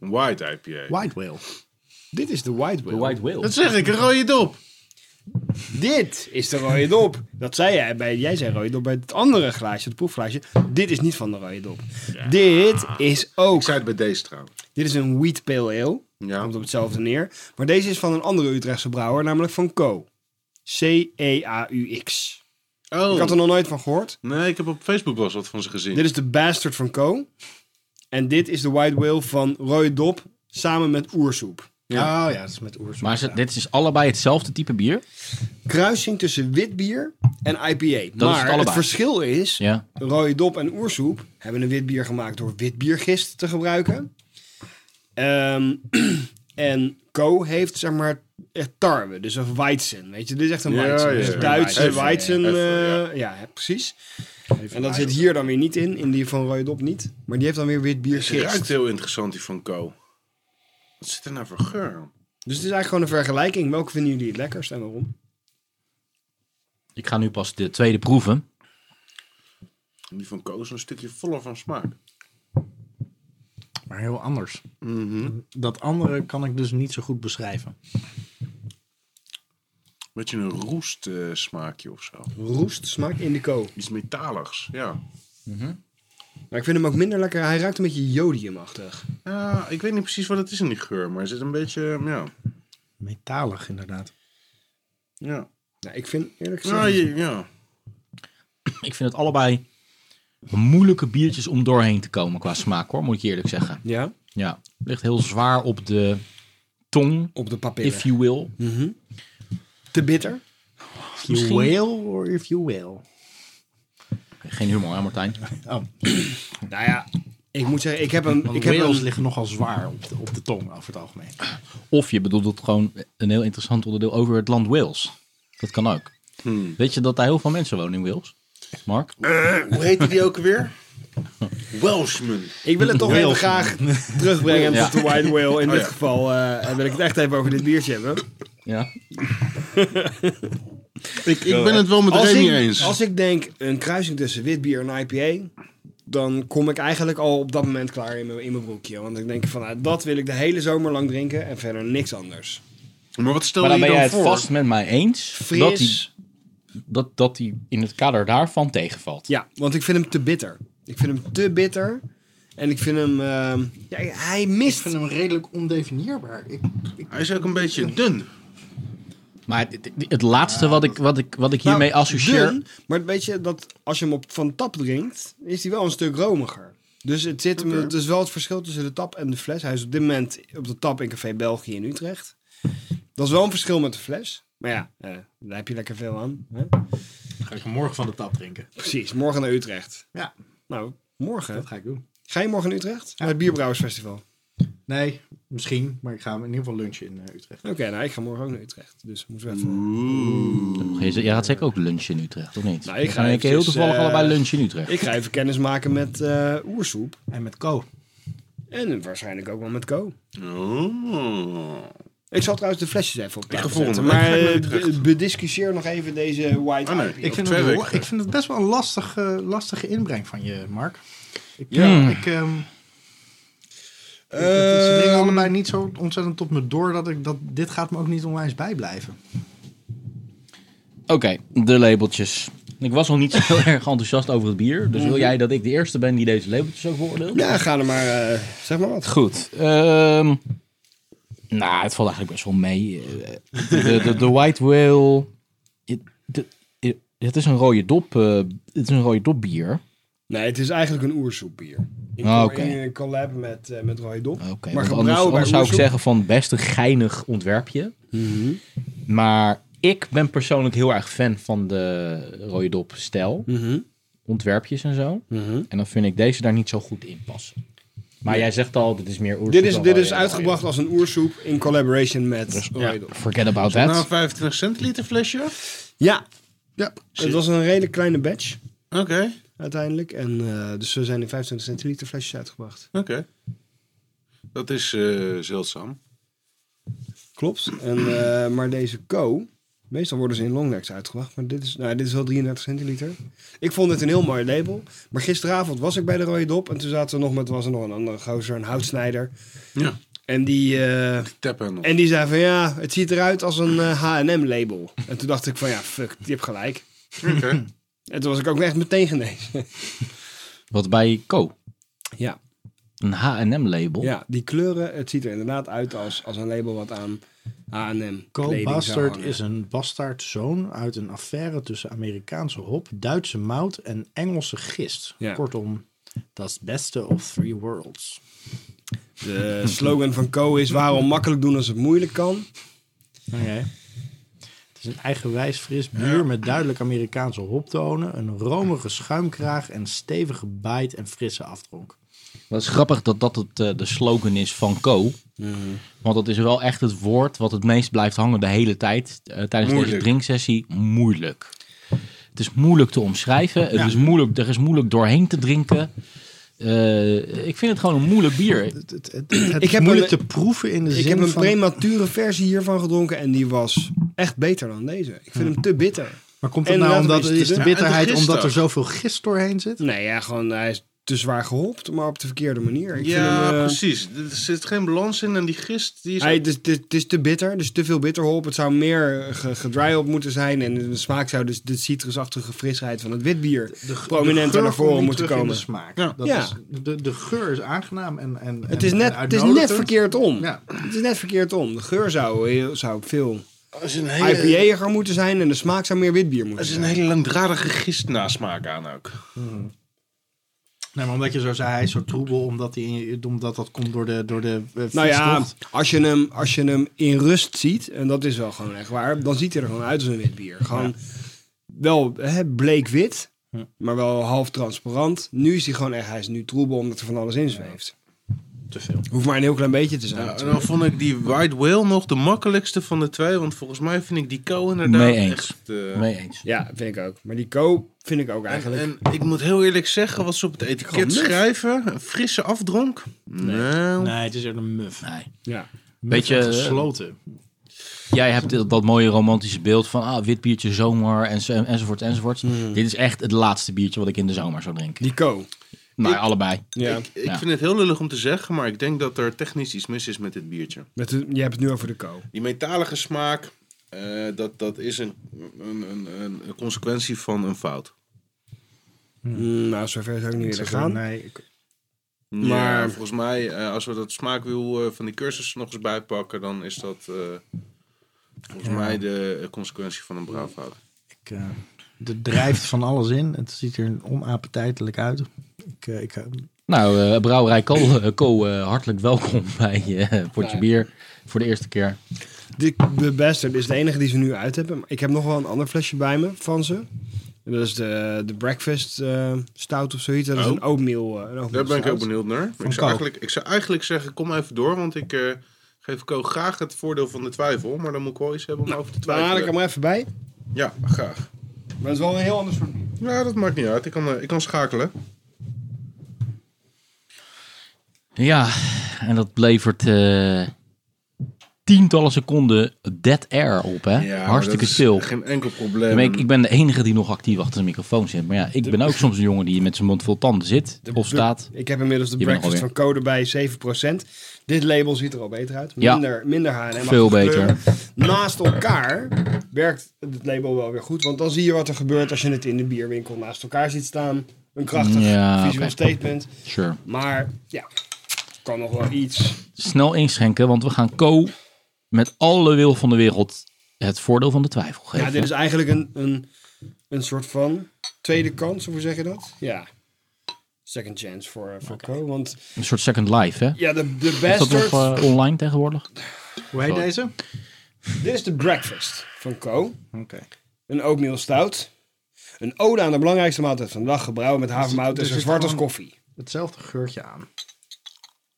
S3: een white IPA.
S4: White Whale.
S2: Dit is de White Whale.
S1: Whale.
S3: Dat zeg ik, een rode dop.
S2: Dit is de rode dop. Dat zei jij bij, jij zei rode dop bij het andere glaasje, het proefglaasje. Dit is niet van de rode dop. Dit is ook,
S3: Ik zei het bij deze trouwens.
S2: dit is een wheat pale ale.
S3: Ja.
S2: Komt op hetzelfde neer. Maar deze is van een andere Utrechtse brouwer, namelijk van Co. E C-E-A-U-X. Ik had er
S3: Oh,
S2: nog nooit van gehoord.
S3: nee, ik heb op Facebook wel eens wat van ze gezien.
S2: Dit is de Bastard van Co. En dit is de White Whale van Roy Dop samen met Oersoep.
S4: Ja. Oh ja, dat is met oersoep.
S1: Maar ze- dit is allebei hetzelfde type bier.
S2: Kruising tussen wit bier en IPA.
S1: het
S2: maar het,
S1: allebei.
S2: verschil is,
S1: Ja.
S2: Rode Dop en Oersoep hebben een wit bier gemaakt door witbiergist te gebruiken. Ehm, en Co heeft zeg maar echt tarwe, dus een weizen, weet je. Dit is echt een
S3: Ja,
S2: weizen,
S3: ja,
S2: dus
S3: ja.
S2: Duitse
S3: Even,
S2: weizen.
S3: even,
S2: eh,
S3: ja.
S2: ja. precies. en dat zit hier dan weer niet in, in die van Rode Dop niet. Maar die heeft dan weer
S3: Het ruikt
S2: witbiergist.
S3: heel interessant, die van Co. Wat zit er nou voor geur?
S2: Dus het is eigenlijk gewoon een vergelijking. Welke vinden jullie het lekkerst en waarom?
S1: Ik ga nu pas de tweede proeven.
S3: Die van Co is een stukje voller van smaak.
S4: Maar heel anders. Dat andere kan ik dus niet zo goed beschrijven.
S3: Beetje een roest eh, smaakje of zo.
S2: Roest smaakt indico.
S3: Iets metaligs, ja.
S2: Maar ik vind hem ook minder lekker. Hij ruikt een beetje jodiumachtig.
S3: Ja, ik weet niet precies wat het is in die geur, maar er zit een beetje, ja.
S4: Metalig inderdaad.
S3: Ja,
S2: Nou, ik vind eerlijk gezegd...
S3: ja, je- ja.
S1: Ik vind het allebei moeilijke biertjes om doorheen te komen qua smaak hoor, moet ik je eerlijk zeggen.
S2: ja?
S1: Ja. Ligt heel zwaar op de tong,
S2: Op de papillen.
S1: if you will.
S2: Te bitter?
S4: If you
S1: Misschien-
S4: will or if you will.
S1: Geen humor hè Martijn?
S4: Oh,
S2: Nou ja, ik moet zeggen, ik heb een...
S4: want
S2: Ik heb
S4: whales
S2: een
S4: liggen nogal zwaar op de, op de tong over het algemeen.
S1: Of je bedoelt het gewoon een heel interessant onderdeel over het land Wales. Dat kan ook.
S3: Hmm.
S1: Weet je dat daar heel veel mensen wonen in Wales? Mark?
S3: Eh, Hoe heette die ook weer? Welshman.
S2: ik wil het toch
S4: Whale.
S2: even graag terugbrengen
S1: Ja.
S2: tot de White Whale. In
S3: Oh
S2: dit
S3: ja.
S2: geval eh, en wil ik het echt even over dit biertje hebben.
S1: Ja.
S3: Ik, ik ben het wel met
S2: Als
S3: Remy
S2: ik,
S3: eens.
S2: als ik denk een kruising tussen wit bier en IPA, dan kom ik eigenlijk al op dat moment klaar in mijn, in mijn broekje. Want ik denk van, nou, dat wil ik de hele zomer lang drinken en verder niks anders.
S3: Maar wat stel
S1: Maar
S3: je
S1: dan ben jij
S3: dan
S1: het
S3: voor?
S1: vast met mij eens dat die,
S2: Fris.
S1: dat, dat die in het kader daarvan tegenvalt.
S2: Ja, want ik vind hem te bitter. Ik vind hem te bitter. En ik vind hem... ehm, ja, hij
S4: Ik
S2: mist...
S4: vind hem redelijk ondefinieerbaar. Ik, ik,
S3: Hij is ook een beetje dun.
S1: Maar het, het laatste wat ik, wat ik, wat ik hiermee
S2: Nou,
S1: associeer...
S2: dun, maar weet je, dat als je hem op van tap drinkt, is hij wel een stuk romiger. Dus het, zit, hem-
S3: Oké.
S2: het is wel het verschil tussen de tap en de fles. Hij is op dit moment op de tap in Café België in Utrecht. Dat is wel een verschil met de fles. Maar ja, eh, daar heb je lekker veel aan. Hè?
S4: ga ik morgen van de tap drinken.
S2: Precies, morgen naar Utrecht.
S4: Ja,
S2: Nou, morgen.
S4: dat ga ik doen.
S2: Ga je morgen naar Utrecht? Naar het Bierbrouwersfestival. Oké,
S4: Nee, misschien. Maar ik ga hem in ieder geval lunchen in eh, Utrecht.
S2: nou, ik ga morgen ook naar Utrecht. Dus moeten we even...
S1: Jij gaat zeker ook lunchen in Utrecht, of niet?
S2: Nou, ik
S1: We
S2: ga
S1: gaan in één keer heel
S2: eventjes,
S1: toevallig
S2: eh,
S1: allebei lunchen in Utrecht.
S2: Ik ga even kennis maken met eh, Oersoep.
S4: En met Co.
S2: En waarschijnlijk ook wel met Co.
S3: Oh.
S2: Ik zal trouwens de flesjes even op
S3: Ik ga
S2: tafel
S3: volgende
S2: zetten.
S3: week
S2: Maar
S3: ga ik naar
S2: eh,
S3: Utrecht.
S2: be- bediscussieer nog even deze white
S3: Ah, nee.
S2: IPA.
S4: Ik vind,
S3: twee
S4: het,
S3: weken
S4: wel- ik vind het best wel een lastige, lastige inbreng van je, Mark. Ik,
S1: Ja.
S4: ik, ehm, ik- het- ze dringen allebei niet zo ontzettend tot me door dat, ik, dat dit gaat me ook niet onwijs bijblijven.
S1: Oké, de labeltjes. Ik was al niet zo heel erg enthousiast over het bier. Dus wil jij dat ik de eerste ben die deze labeltjes ook beoordeelt?
S2: Ja, ga er maar, eh, zeg maar wat.
S1: Goed. ehm, nou, het valt eigenlijk best wel mee. Eh, De, de, de White Whale... Het, de- het is een rode dop, eh, het is een rode dop bier.
S2: Nee, het is eigenlijk een oersoepbier. Ik
S1: Ah,
S2: ah,
S1: oké.
S2: in een collab met, eh met Roy Dop.
S1: Oké,
S2: maar
S1: want
S2: gebrouwen
S1: anders,
S2: bij
S1: anders zou ik
S2: Oersoep.
S1: zeggen van best een geinig ontwerpje.
S2: Mhm.
S1: Maar ik ben persoonlijk heel erg fan van de rode dop stijl.
S2: Mhm.
S1: Ontwerpjes en zo.
S2: Mhm.
S1: En dan vind ik deze daar niet zo goed in passen. Maar jij zegt al, dit is meer oersoep
S2: Dit is,
S1: dan
S2: dit
S1: wel Dus-
S2: is
S1: weer-
S2: uitgebracht als een oersoep in collaboration met Roy Dop. Dus
S1: Forget about
S3: Nou, een
S1: that.
S3: 25 centiliter flesje.
S2: Ja,
S4: Ja.
S2: het was een redelijk kleine batch
S3: Oké,
S2: uiteindelijk. En, eh, dus we zijn in 25 centiliter flesjes uitgebracht.
S3: oké. Dat is eh, zeldzaam.
S2: Klopt. En, eh, maar deze Co... Meestal worden ze in longnecks uitgebracht, maar dit is, nou, dit is wel 33 centiliter. Ik vond het een heel mooi label. Maar gisteravond was ik bij de Rode Dop en toen zaten we nog met was er nog een andere gozer, een houtsnijder.
S3: Ja,
S2: En die, eh,
S3: tappen.
S2: en die zei van ja, het ziet eruit als een eh, H&M label. En toen dacht ik van ja, fuck, die heeft gelijk.
S3: Oké.
S2: En toen was ik ook echt meteen genezen.
S1: Wat bij Co.
S2: Ja.
S1: Een H&M label.
S2: ja, die kleuren, het ziet er inderdaad uit als, als een label wat aan H&M
S4: Co
S2: kleding
S4: Bastard
S2: hangen.
S4: is een bastaardzoon uit een affaire tussen Amerikaanse hop, Duitse mout en Engelse gist.
S2: Ja.
S4: Kortom, dat is het beste of three worlds.
S2: De slogan van Co is waarom makkelijk doen als het moeilijk kan.
S4: Oké. Nou Het is een eigenwijs fris bier met duidelijk Amerikaanse hoptonen, een romige schuimkraag en stevige bite en frisse afdronk.
S1: Dat is grappig dat dat het, eh, de slogan is van Co. Want dat is wel echt het woord wat het meest blijft hangen de hele tijd. eh, tijdens deze
S3: Moeilijk.
S1: drinksessie. Moeilijk. Het is moeilijk te omschrijven. Het is moeilijk, er is moeilijk doorheen te drinken. Eh, ik vind het gewoon een moeilijk bier.
S4: Het, het, het, het
S2: Ik
S4: is
S2: heb
S4: moeilijk
S2: een-
S4: te proeven in de
S2: Ik
S4: zin
S2: heb een
S4: van...
S2: premature versie hiervan gedronken en die was echt beter dan deze. Ik vind hem te bitter.
S4: maar komt het
S2: en
S4: nou
S2: laten we
S4: omdat
S2: eens
S4: is de
S2: dit-
S3: Ja,
S4: bitterheid
S3: en de gist
S4: omdat er
S3: ook.
S4: zoveel gist doorheen zit?
S2: Nee, ja, gewoon hij is te zwaar geholpt, maar op de verkeerde manier. Ik
S3: ja,
S2: vind hem, eh,
S3: precies. Er zit geen balans in en die gist die is...
S2: Hij, het, is, het is- het is te bitter, dus te veel bitterhop. Het zou meer ge- gedry-hop moeten zijn. En de smaak zou dus de citrusachtige frisheid van het witbier
S4: Prominent
S2: prominenter naar voren moeten
S4: De,
S2: komen.
S4: smaak.
S3: Ja.
S4: Dat
S2: Ja.
S4: Is, de, de geur is aangenaam en, en
S2: Het
S4: en-
S2: is net,
S4: en
S2: het is net
S4: uitnodigend.
S2: verkeerd om.
S4: Ja.
S2: Het is net verkeerd om. De geur zou, heel- zou veel
S3: Er is een hele,
S2: IPA-iger moeten zijn en de smaak zou meer witbier
S3: er
S2: moeten
S3: is een
S2: zijn.
S3: hele langdradige gist nasmaak aan ook.
S4: Nee, maar omdat je zo zei, hij is zo troebel omdat, hij, in- omdat dat komt door de, door de eh,
S2: Nou ja,
S4: fietstocht.
S2: als je, hem, als je hem in rust ziet, en dat is wel gewoon echt waar, dan ziet hij er gewoon uit als een wit bier. Gewoon wel hè, bleek-wit, maar wel half transparant. Nu is hij gewoon echt, hij is nu troebel omdat er van alles in zweeft.
S4: te veel.
S2: Hoeft maar een heel klein beetje te zijn.
S3: Ja, en
S2: natuurlijk.
S3: dan vond ik die White Whale nog de makkelijkste van de twee. Want volgens mij vind ik die Co inderdaad
S1: Mee eens.
S3: echt... eh,
S1: Mee eens.
S2: Ja, vind ik ook. Maar die Co vind ik ook
S3: en,
S2: eigenlijk.
S3: en ik moet heel eerlijk zeggen, wat ze op het etiket
S2: Gewoon muf.
S3: schrijven, een frisse afdronk. nou. Nee.
S4: Nee, het is echt een muf.
S1: Nee.
S2: ja.
S4: Muf
S1: Beetje,
S4: en
S1: eh,
S4: gesloten.
S1: Jij hebt dat- dat mooie romantische beeld van ah, wit biertje zomer en, zo- enzovoort enzovoort. Dit is echt het laatste biertje wat ik in de zomer zou drinken.
S2: Die Co.
S1: Maar allebei.
S2: Ja.
S3: Ik, ik
S1: Ja.
S3: vind het heel lullig om te zeggen, maar ik denk dat er technisch iets mis is met dit biertje.
S2: Met de, je hebt het nu over de Co.
S3: Die metalige smaak, eh, dat, dat is een, een, een, een consequentie van een fout.
S2: Mm, nou, zover zou ik niet
S4: Ik
S2: willen
S4: zou
S2: gaan.
S4: zeggen, Nee, ik-
S3: Maar
S2: Maar-
S3: volgens mij, eh, als we dat smaakwiel eh, van die cursus nog eens bijpakken, dan is dat eh, volgens mij de eh, consequentie van een braafhout.
S4: ik, eh, er drijft van alles in. Het ziet er onappetijtelijk uit. Ik, eh, ik, eh,
S1: Nou, eh, Brouwerij Co, eh, Co, eh, hartelijk welkom bij eh, Potje Bier voor de eerste keer.
S2: De, de Bastard is de enige die ze nu uit hebben. Maar ik heb nog wel een ander flesje bij me van ze. En dat is de, de Breakfast eh, Stout of zoiets. Dat is
S3: Oh.
S2: een oatmeal, eh, een oatmeal
S3: Daar ben ik
S2: stout.
S3: ook benieuwd naar.
S4: Van
S3: Ik
S4: Ko.
S3: zou, eigenlijk, ik zou eigenlijk zeggen, kom even door, want ik eh, geef Ko graag het voordeel van de twijfel. Maar dan moet ik wel iets hebben om over te
S2: Nou, Dan haal ik
S3: twijfelen.
S2: hem er even bij.
S3: Ja, graag.
S2: Maar het is wel een heel ander soort bier.
S3: Ja, dat maakt niet uit. Ik kan, eh, ik kan schakelen.
S1: Ja, en dat levert eh, tientallen seconden dead air op, hè?
S3: Ja, maar
S1: Hartstikke
S3: dat is ehm,
S1: stil.
S3: Geen enkel probleem.
S1: Ik ben, ik, ik ben de enige die nog actief achter de microfoon zit. Maar ja, ik ben ook soms een jongen die met zijn mond vol tanden zit of staat.
S2: Ik heb inmiddels de
S1: Je bent
S2: Breakfast van Code bij 7%. Dit label ziet er al beter uit.
S1: Ja.
S2: Minder, minder H&M.
S1: Veel
S2: kleur.
S1: beter.
S2: Naast elkaar werkt het label wel weer goed. Want dan zie je wat er gebeurt als je het in de bierwinkel naast elkaar ziet staan. Een krachtig
S1: Ja,
S2: visueel
S1: oké.
S2: statement.
S1: Sure.
S2: Maar ja, kan nog wel iets.
S1: Snel inschenken, want we gaan Co met alle wil van de wereld het voordeel van de twijfel geven.
S2: Ja, dit is eigenlijk een, een, een soort van tweede kans, of hoe zeg je dat? Ja. Second chance voor, eh, voor Co. Want
S1: Een soort second life, hè?
S2: ja, de, de
S1: Is dat nog
S2: bastard.
S1: eh, online tegenwoordig?
S4: hoe heet deze? Oké.
S2: Dit is de breakfast van Co. Een oatmeal stout. Een ode aan de belangrijkste maaltijd van de dag. Gebrouwen met havermout en
S4: dus
S2: zo
S4: het
S2: zwart als
S4: gewoon-
S2: koffie.
S4: Hetzelfde geurtje aan.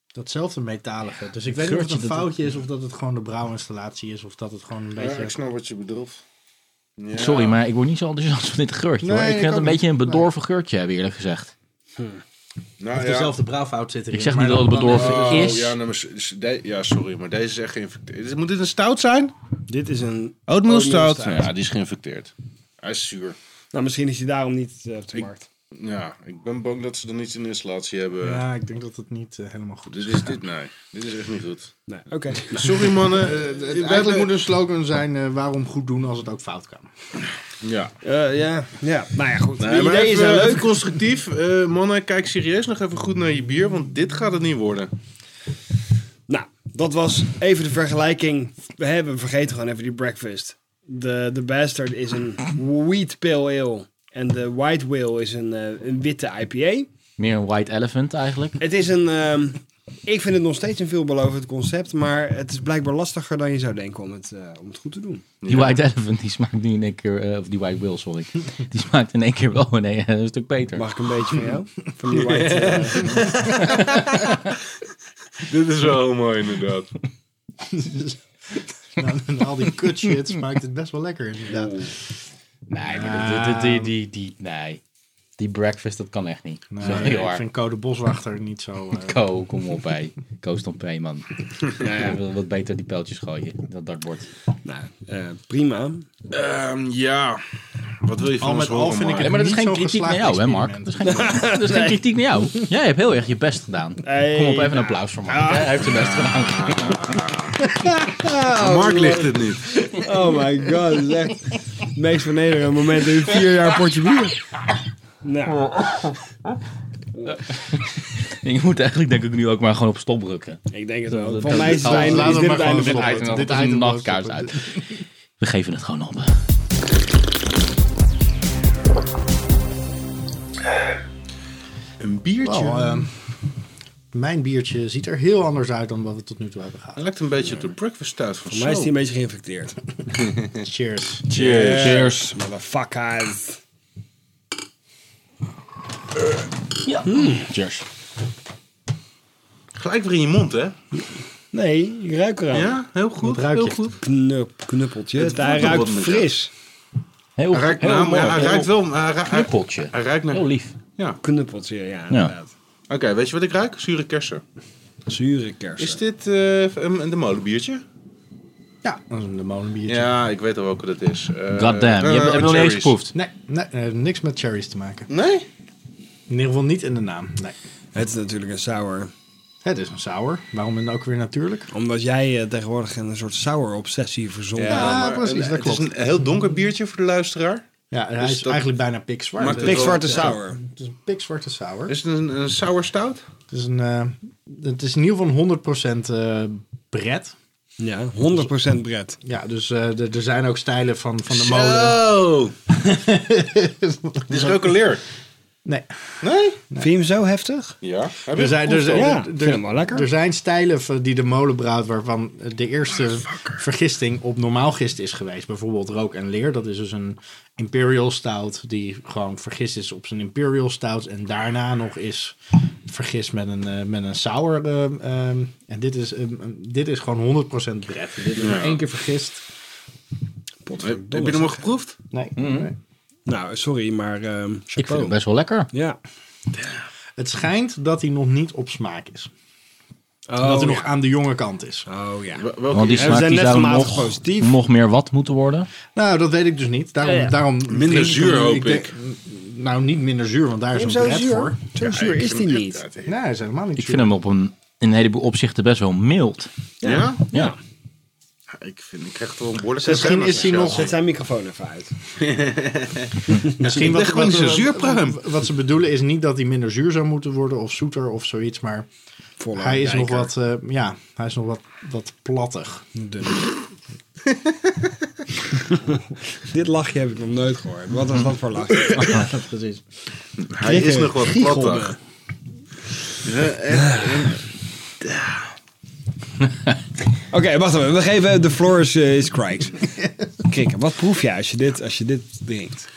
S4: Datzelfde metalige. Dus ik weet niet of
S1: geurtje
S4: het een
S1: dat-
S4: foutje is of dat het gewoon de brouwinstallatie is of dat het gewoon een
S3: Ja,
S4: beetje...
S3: ik snap wat je bedoelt. Ja. nou
S1: Sorry, maar ik word niet zo enthousiast van dit geurtje. hoor.
S4: Nee,
S1: Ik
S4: ik
S1: vind het een
S4: ook
S1: beetje een bedorven geurtje, hebben eerlijk gezegd.
S3: Nou,
S4: Of
S3: ja.
S4: dezelfde brouwfout zit erin.
S1: Ik zeg
S4: maar
S1: niet dat het
S4: dan- dan-
S1: bedorven
S3: Oh,
S1: is.
S3: ja, nee, maar s- s- de- ja, sorry, maar deze is echt geïnfecteerd. Moet dit een stout zijn?
S2: Dit is een...
S3: Oatmeal
S2: stout.
S3: stout. Ja, die is geïnfecteerd. Hij is zuur.
S2: Nou, misschien is hij daarom niet eh, op de
S3: Ik-
S2: markt.
S3: Ja, ik ben bang dat ze er niet in installatie hebben.
S4: Ja, ik denk dat het niet eh, helemaal goed
S3: Dit
S4: is.
S3: is dit, nee. Dit is echt niet goed.
S2: Nee, oké.
S3: Sorry mannen.
S4: Eh, Eigenlijk moet een slogan zijn, eh, waarom goed doen als het ook fout kan.
S3: Ja.
S2: Eh, ja, ja, nou ja, goed.
S3: Nee,
S2: de
S3: maar
S2: ideeën
S3: even, eh,
S2: zijn
S3: even
S2: leuk.
S3: constructief. Eh, mannen, kijk serieus nog even goed naar je bier, want dit gaat het niet worden.
S2: Nou, dat was even de vergelijking. We hebben vergeten gewoon even die breakfast. De, de Bastard is een wheat pale ale. En de White Whale is een, eh, een witte IPA.
S1: Meer een white elephant eigenlijk.
S2: Het is een... ehm, ik vind het nog steeds een veelbelovend concept. Maar het is blijkbaar lastiger dan je zou denken om het, eh, om het goed te doen.
S1: Die white elephant die smaakt nu in één keer, eh, of die white whale, sorry. Die smaakt in één keer wel in één- een stuk beter.
S2: Mag ik een beetje van jou? Van die white... eh,
S3: Dit is wel mooi inderdaad.
S4: nou, na al die kut shit smaakt het best wel lekker inderdaad.
S1: Nee, maar dit-
S4: Ah.
S1: dit- die, die, die, nee. Die breakfast, dat kan echt niet.
S4: Nee,
S1: Sorry
S4: ik
S1: hoor.
S4: vind Code Boswachter niet zo... eh,
S1: Ko, kom op bij. Ko stond P, man. Ik wil wat beter die pijltjes gooien, dat dartbord.
S2: nou, eh, prima.
S3: Ehm, ja. Wat wil je van
S4: Al
S3: ons
S4: met al
S3: horen,
S4: vind ik
S3: Mark?
S1: maar dat is
S4: Niet
S1: geen
S4: zo'n
S1: kritiek naar
S4: geslaagd
S1: jou, hè Mark? Dat is geen, dat is geen kritiek naar jou. Jij hebt heel erg je best gedaan.
S2: Hey,
S1: Kom op, even een
S2: nou.
S1: applaus voor Mark. Hij heeft zijn best
S4: Ah.
S1: gedaan.
S3: Mark ligt het niet.
S2: Oh my god, dat is echt het meest vernederende moment in vier jaar potje bier. Nou,
S1: Je moet eigenlijk denk ik nu ook maar gewoon op stop drukken.
S2: ik denk het
S1: Dat-
S2: wel.
S1: dat-
S2: Van mij
S1: dat-
S2: zijn
S1: laten
S2: is
S4: we
S2: dit
S4: maar
S2: het einde
S4: gewoon
S2: van
S1: Dit
S2: de
S4: stoppen.
S1: item,
S4: item-
S1: dit
S4: dit
S1: is
S4: item
S1: een
S4: was
S1: nachtkaars
S4: het.
S1: uit. We geven het gewoon op.
S3: Een biertje.
S4: Wel, ehm, mijn biertje ziet er heel anders uit dan wat we tot nu toe hebben gehad.
S3: Hij lijkt een beetje op de breakfast stout van
S2: Voor mij is
S3: Sol.
S2: die een beetje geïnfecteerd.
S4: Cheers.
S3: Cheers.
S2: Cheers, motherfuckers.
S1: Hmm. Cheers.
S3: Gelijk weer in je mond, hè?
S2: Nee, ik ruik eraan.
S3: Ja, heel goed.
S4: ruik je?
S3: Heel goed.
S2: Knup, knuppeltje.
S3: Het
S2: Het hij
S3: wordt
S2: ruikt
S3: wat met
S2: fris.
S1: Heel,
S3: Hij ruikt,
S1: heel
S3: nou,
S1: mooi.
S3: maar hij
S1: Heel-
S3: ruikt wel... Hij, ruikt- hij,
S1: Knuppeltje.
S3: hij ruikt naar...
S1: Heel lief.
S3: Ja.
S2: Knuppeltje, ja, inderdaad.
S3: Oké, weet je wat ik ruik? Zure kersen.
S2: Zure kersen.
S3: Is dit eh een, de molenbiertje?
S4: Ja, dat is een de molenbiertje.
S3: Ja, ik weet al welke dat is. Eh,
S1: Goddamn, je hebt het nog
S3: eh,
S1: niet eens
S3: cherries.
S1: geproefd.
S4: Nee, nee, eh, niks met cherries te maken.
S3: Nee?
S4: In ieder geval niet in de naam. Nee.
S2: Het is natuurlijk een sour.
S4: Het is een sour. Waarom dan ook weer natuurlijk?
S2: Omdat jij eh, tegenwoordig een soort sour obsessie verzonnen
S4: Ja,
S2: hebt.
S3: maar
S4: precies,
S3: Eh, een-
S4: dat
S3: Het is een heel donker biertje voor de luisteraar.
S4: Ja, hij is
S3: Dus dat-
S4: eigenlijk bijna pikzwart.
S3: Maakt het
S4: Het
S2: Pikzwarte
S3: Ja.
S2: sour.
S4: is een pikzwarte sour.
S3: Is het een, een sour stout?
S4: Het is, een, eh, het is in ieder geval een 100% eh bret.
S2: Ja, 100% bret.
S4: Ja, dus eh, er- er zijn ook stijlen van, van de molen.
S3: Zo! Dit is gecalculeerd.
S4: Nee,
S3: Nee?
S2: Vind je hem zo heftig?
S3: Ja. Heb je
S4: er zijn, er,
S3: geproefd al?
S2: dus- Ja,
S4: zijn- er-
S2: ik vind
S4: er-
S2: hem wel lekker.
S4: er zijn stijlen van- die de molen brouwt waarvan de eerste vergisting op normaal gist is geweest. Bijvoorbeeld rook en leer. Dat is dus een imperial stout die gewoon vergist is op zijn imperial stout. En daarna nog is vergist met een, eh, met een sour. eh, ehm, en dit is, ehm, ehm, dit is gewoon 100% bret. Dit is maar één keer vergist.
S3: Oh, Heb heb je hem al geproefd?
S4: Nee.
S2: Mhm.
S4: nee.
S2: Nou, sorry, maar... ehm
S1: Ik vind
S2: chapeau.
S1: het best wel lekker.
S2: Ja.
S4: Het schijnt dat hij nog niet op smaak is.
S2: Oh,
S4: dat hij
S2: ja.
S4: nog aan de jonge kant is.
S2: Oh ja.
S3: Wel- welke-
S1: Want die
S2: we
S1: smaak
S2: zijn
S1: die
S2: net
S1: zou
S2: gematigd
S1: nog,
S2: positief.
S1: nog meer wat moeten worden.
S4: Nou, dat weet ik dus niet. Daarom, daarom drink ik
S3: zuur,
S4: hem nu.
S3: hoop
S4: denk-
S3: ik.
S4: Nou, niet minder zuur, want daar is
S2: Is
S4: een
S2: hem zo
S4: pret
S2: zuur?
S4: voor.
S2: Zo zuur
S3: ik
S2: is
S3: vind
S2: die
S3: hem
S2: niet.
S3: echt uit, hè.
S4: Nee, hij is helemaal niet
S1: Ik
S4: zuur.
S1: vind hem op een, in een heleboel opzichten best wel mild.
S3: Ja?
S1: Ja.
S3: Ja, Ik, vind, ik krijg toch een behoorlijke
S4: Misschien
S3: scène,
S4: is hij
S3: Michel.
S4: nog-
S2: Zet zijn microfoon even uit.
S4: Misschien
S3: Ik leg gewoon niet zo zuur, Pruim.
S4: wat, wat ze bedoelen is niet dat hij minder zuur zou moeten worden of zoeter of zoiets, maar
S2: Volle
S4: hij is nog
S2: rijker.
S4: wat, eh, ja, hij is nog wat, wat plattig.
S2: Dit lachje heb ik nog nooit gehoord. Wat was dat voor lachje?
S4: Precies.
S3: Hij is nog wat plattig. Eh,
S2: Oké, wacht even. We geven de floor is, eh, is Craigs. Krikken, wat proef je als je dit, als je dit drinkt?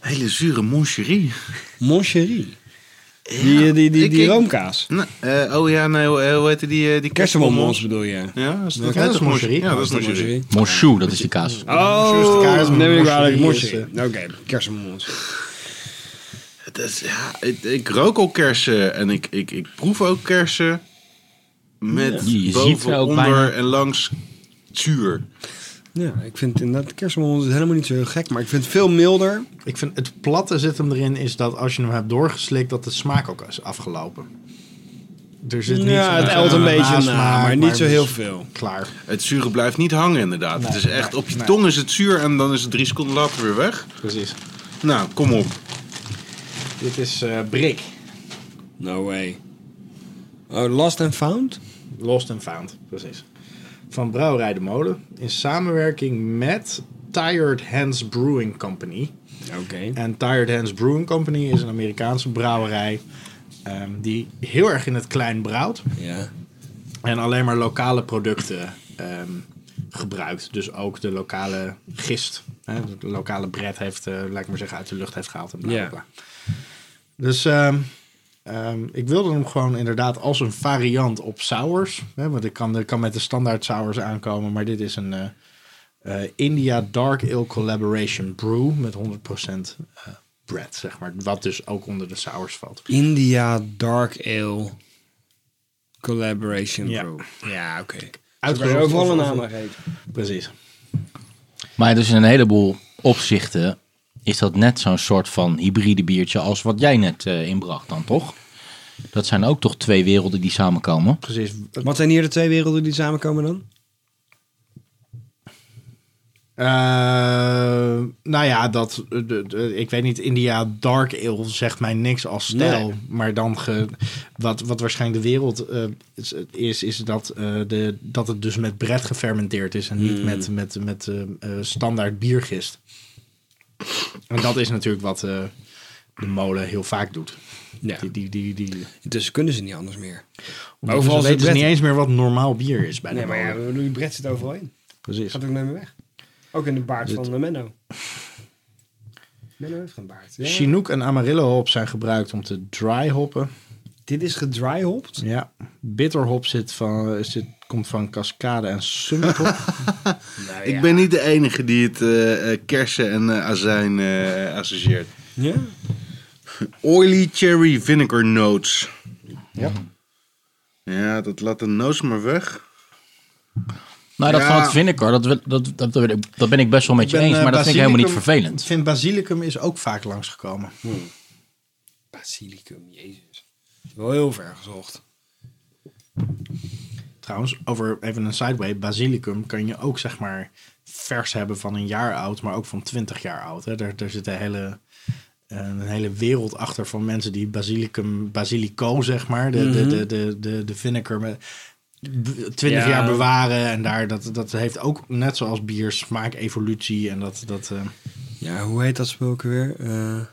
S3: Hele zure moncherie.
S2: Moncherie. Die, eh, die, die,
S3: ik-
S2: die
S3: ik-
S2: roomkaas.
S3: Nou, eh, oh ja, nee, hoe, eh, hoe heette die? eh, die
S2: Kersenbonbons bedoel je?
S3: Ja, is dat,
S4: Ja, dat is moncherie.
S3: Ja, dat is moncherie.
S1: Monsjoe, dat is die kaas.
S2: Oh,
S4: kaas,
S2: dan ben ik wel
S4: moncherie
S2: moncherie. eh. Oké, kersenbonbons.
S3: Het is- ja, ik, ik rook al kersen en ik, ik, ik proef ook kersen. Met
S1: Ja. Je ziet ze
S3: boven,
S1: ook
S3: onder
S1: bijna.
S3: en langs zuur.
S2: Ja, ik vind inderdaad, kersenbonbons is helemaal niet zo heel gek, maar ik vind het veel milder.
S4: Ik vind het platte zit hem erin is dat als je hem hebt doorgeslikt dat de smaak ook is afgelopen. Er zit niet
S2: Ja,
S4: zo'n-
S2: het ijlt een beetje na,
S4: nasmaak,
S2: maar niet zo
S4: het is
S2: heel veel.
S4: dus Klaar.
S3: Het zure blijft niet hangen, inderdaad. het is echt, op je tong is het zuur en dan is het drie seconden later weer weg.
S4: Precies.
S3: Nou, kom op.
S4: Dit is eh Brik,
S2: No way. Oh, Lost and Found?
S4: Lost and Found. Precies. Van Brouwerij de Molen. In samenwerking met Tired Hands Brewing Company.
S2: Oké.
S4: En Tired Hands Brewing Company is een Amerikaanse brouwerij. ehm, die heel erg in het klein brouwt.
S2: Ja.
S4: En alleen maar lokale producten ehm, gebruikt. Dus ook de lokale gist. Hè, de lokale bret heeft, eh, laat ik maar zeggen, uit de lucht heeft gehaald. En bla, bla,
S2: Ja.
S4: bla. Dus ehm, ehm, ik wilde hem gewoon inderdaad als een variant op sours. Hè, want ik kan, ik kan met de standaard sours aankomen. Maar dit is een eh, eh, India Dark Ale Collaboration Brew met 100% eh, bret, zeg maar. Wat dus ook onder de sours valt.
S2: India Dark Ale Collaboration
S4: Ja.
S2: Brew. Ja, oké.
S4: Uitgezocht
S2: overal
S4: of-
S2: een
S4: of-
S2: naam aan geven.
S4: Precies.
S1: Maar dus in een heleboel opzichten is dat net zo'n soort van hybride biertje als wat jij net eh, inbracht dan, toch? Dat zijn ook toch twee werelden die samenkomen.
S4: Precies.
S2: Wat zijn hier de twee werelden die samenkomen dan?
S4: Eh, nou ja, dat, eh, de- de- ik weet niet, India Dark Ale zegt mij niks als stijl.
S2: Nee.
S4: Maar dan, ge, wat, wat waarschijnlijk de wereld eh, is- is, is dat, eh, de, dat het dus met bret gefermenteerd is. En niet
S2: Hmm.
S4: met, met, met eh, eh, standaard biergist. En dat is natuurlijk wat eh, de molen heel vaak doet.
S2: Ja.
S4: Die, die, die, die,
S2: Intussen dus kunnen ze niet anders meer.
S4: overal
S2: is het
S4: weten ze
S2: bret.
S4: niet eens meer wat normaal bier is bij de
S2: Nee, maar
S4: molen.
S2: ja, Louis Brett zit overal in.
S4: Precies.
S2: Gaat ook nooit meer weg. Ook in de baard
S4: Dit-
S2: van eh, Menno. Menno heeft geen baard. Ja.
S4: Chinook en Amarillo hop zijn gebruikt om te dry hoppen.
S2: Dit is gedryhopt.
S4: Ja, bitterhop zit van, zit, komt van cascade en summit.
S2: Nou
S3: Ik ben niet de enige die het eh, eh, kersen en eh, azijn eh, associeert.
S2: Ja.
S3: Oily cherry vinegar notes.
S4: Ja.
S3: Ja, dat laat de notes maar weg.
S1: Nou, dat
S3: Ja.
S1: van het vinegar, dat, wil- dat, dat, wil ik- dat ben ik best wel met je
S4: eh,
S1: eens, maar dat vind ik helemaal niet
S4: Ik
S1: vervelend.
S4: vind basilicum is ook vaak langsgekomen.
S2: Basilicum, jezus. Wel heel ver gezocht.
S4: Trouwens, over even een sideway. Basilicum kan je ook zeg maar vers hebben van een jaar oud, maar ook van 20 jaar oud. Hè. Daar, daar zit een hele, eh, een hele wereld achter van mensen die basilicum, basilico zeg maar, de,
S1: Mhm.
S4: de, de, de, de, de vinegar met, b- 20
S2: Ja.
S4: jaar bewaren. En daar, dat, dat heeft ook net zoals bier smaak evolutie en dat... dat eh,
S2: Ja, hoe heet dat spul ook weer? Eh,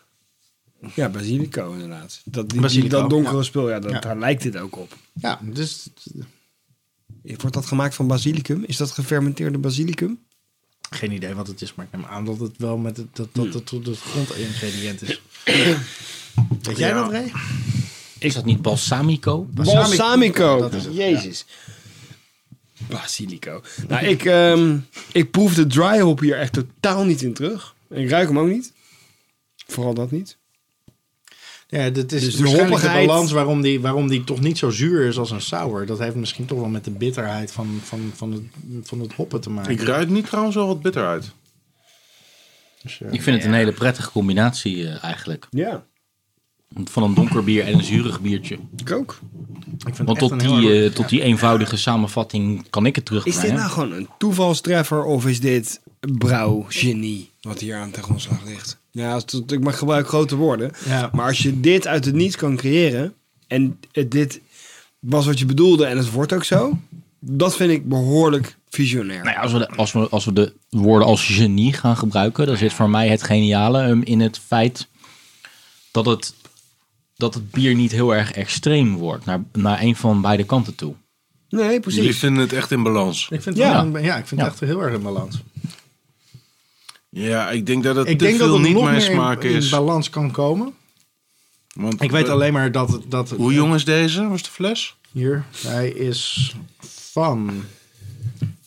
S2: ja, basilico inderdaad. Dat, die,
S4: Basilico,
S2: dat donkere
S4: ja.
S2: spul, ja, dat,
S4: Ja.
S2: daar lijkt dit ook op.
S4: ja, dus
S2: Wordt dat gemaakt van basilicum? Is dat gefermenteerde basilicum?
S4: geen idee wat het is, maar ik neem aan dat het wel met het, dat, dat, dat, dat, grondingrediënt is. Weet jij dat, Ray?
S1: Is dat niet balsamico?
S2: Balsamico.
S4: Dat is het,
S2: Jezus. Basilico. Nou, ik, ehm, ik proef de dry hop hier echt totaal niet in terug. Ik ruik hem ook niet. Vooral dat niet.
S4: Ja, dat is
S2: Dus de
S4: waarschijnlijk de
S2: hoppigheid-
S4: balans waarom die, waarom die toch niet zo zuur is als een sour. Dat heeft misschien toch wel met de bitterheid van, van, van, het, van het hoppen te maken.
S3: Ik ruik niet trouwens al wat bitter uit.
S4: Dus, eh,
S1: Ik vind het een hele prettige combinatie eh, eigenlijk.
S2: Ja,
S1: Van een donker bier en een zuurig biertje.
S2: ik ook.
S4: ik
S1: Want
S4: vind het echt
S1: tot
S4: een heel
S1: die,
S4: erg-
S1: eh, tot die eenvoudige samenvatting kan ik het
S2: Is dit
S1: terugbrengen.
S2: nou gewoon een toevalstreffer of is dit brouwgenie wat hier aan ten grondslag ligt? Ja, als het- ik mag gebruik grote woorden.
S4: Ja.
S2: Maar als je dit uit het niets kan creëren en het, dit was wat je bedoelde en het wordt ook zo, dat vind ik behoorlijk visionair.
S1: Nou ja, als, we de, als, we, als we de woorden als genie gaan gebruiken, dan zit voor mij het geniale hem in het feit dat het, dat het bier niet heel erg extreem wordt naar, naar een van beide kanten toe.
S2: Nee,
S3: Jullie
S2: precies.
S3: vinden het echt in balans.
S4: Ik vind het,
S1: Ja.
S4: wel een- ja, ik vind het
S1: Ja.
S4: echt heel erg in balans.
S3: Ja, ik denk dat het
S4: Ik
S3: te
S4: denk
S3: veel
S4: dat het
S3: niet
S4: nog
S3: mijn
S4: meer in-
S3: smaak
S4: in,
S3: is.
S4: balans kan komen. Eh,
S3: Want
S4: Ik weet
S3: we-
S4: alleen maar dat... dat
S3: Hoe jong is deze? Was de fles?
S4: Hier, hij is van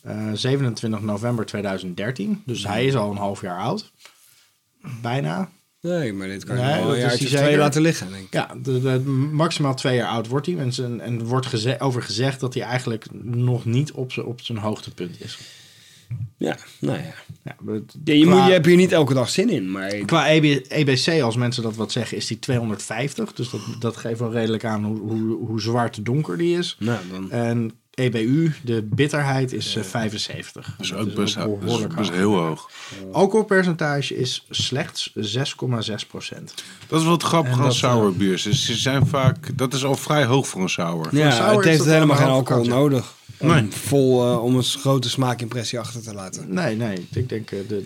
S4: eh, 27 november 2013. Dus hij is al een half jaar oud. Bijna.
S2: Nee, maar dit kan
S4: Nee,
S2: je wel
S4: dat
S2: een
S4: is
S2: jaartje
S4: die
S2: of twee
S4: zeker.
S2: laten liggen, denk ik.
S4: Ja, de, de- maximaal twee jaar oud wordt hij. En, zijn- en er wordt geze- over gezegd dat hij eigenlijk nog niet op zijn, op zijn hoogtepunt is.
S2: Ja, nou ja.
S4: Ja, het-
S2: Ja, je,
S4: qua,
S2: moet, je hebt hier niet elke dag zin in, maar...
S4: qua E EB EBC, als mensen dat wat zeggen, is die 250. Dus dat, dat geeft wel redelijk aan hoe, hoe, hoe zwart donker die is.
S2: Nou, dan...
S4: En EBU, de bitterheid, is eh, 75.
S3: Dat is
S4: Dat
S3: ook best, dat is
S4: behoorlijk
S3: best
S4: hoog.
S3: heel hoog.
S4: Alcoholpercentage is slechts 6,6 procent.
S3: Dat is wat grappig
S4: En
S3: aan
S4: dat, eh,
S3: sour biers. Ze- Ze zijn vaak... Dat is al vrij hoog voor een sour.
S2: Ja,
S4: sour
S2: het
S4: is
S2: heeft
S4: dat
S2: helemaal geen
S4: anderhalve
S2: alcohol
S4: kwartje.
S2: nodig. Om,
S3: Nee.
S2: vol, eh, om een grote smaakimpressie achter te laten.
S4: Nee, nee, ik denk eh, de, de-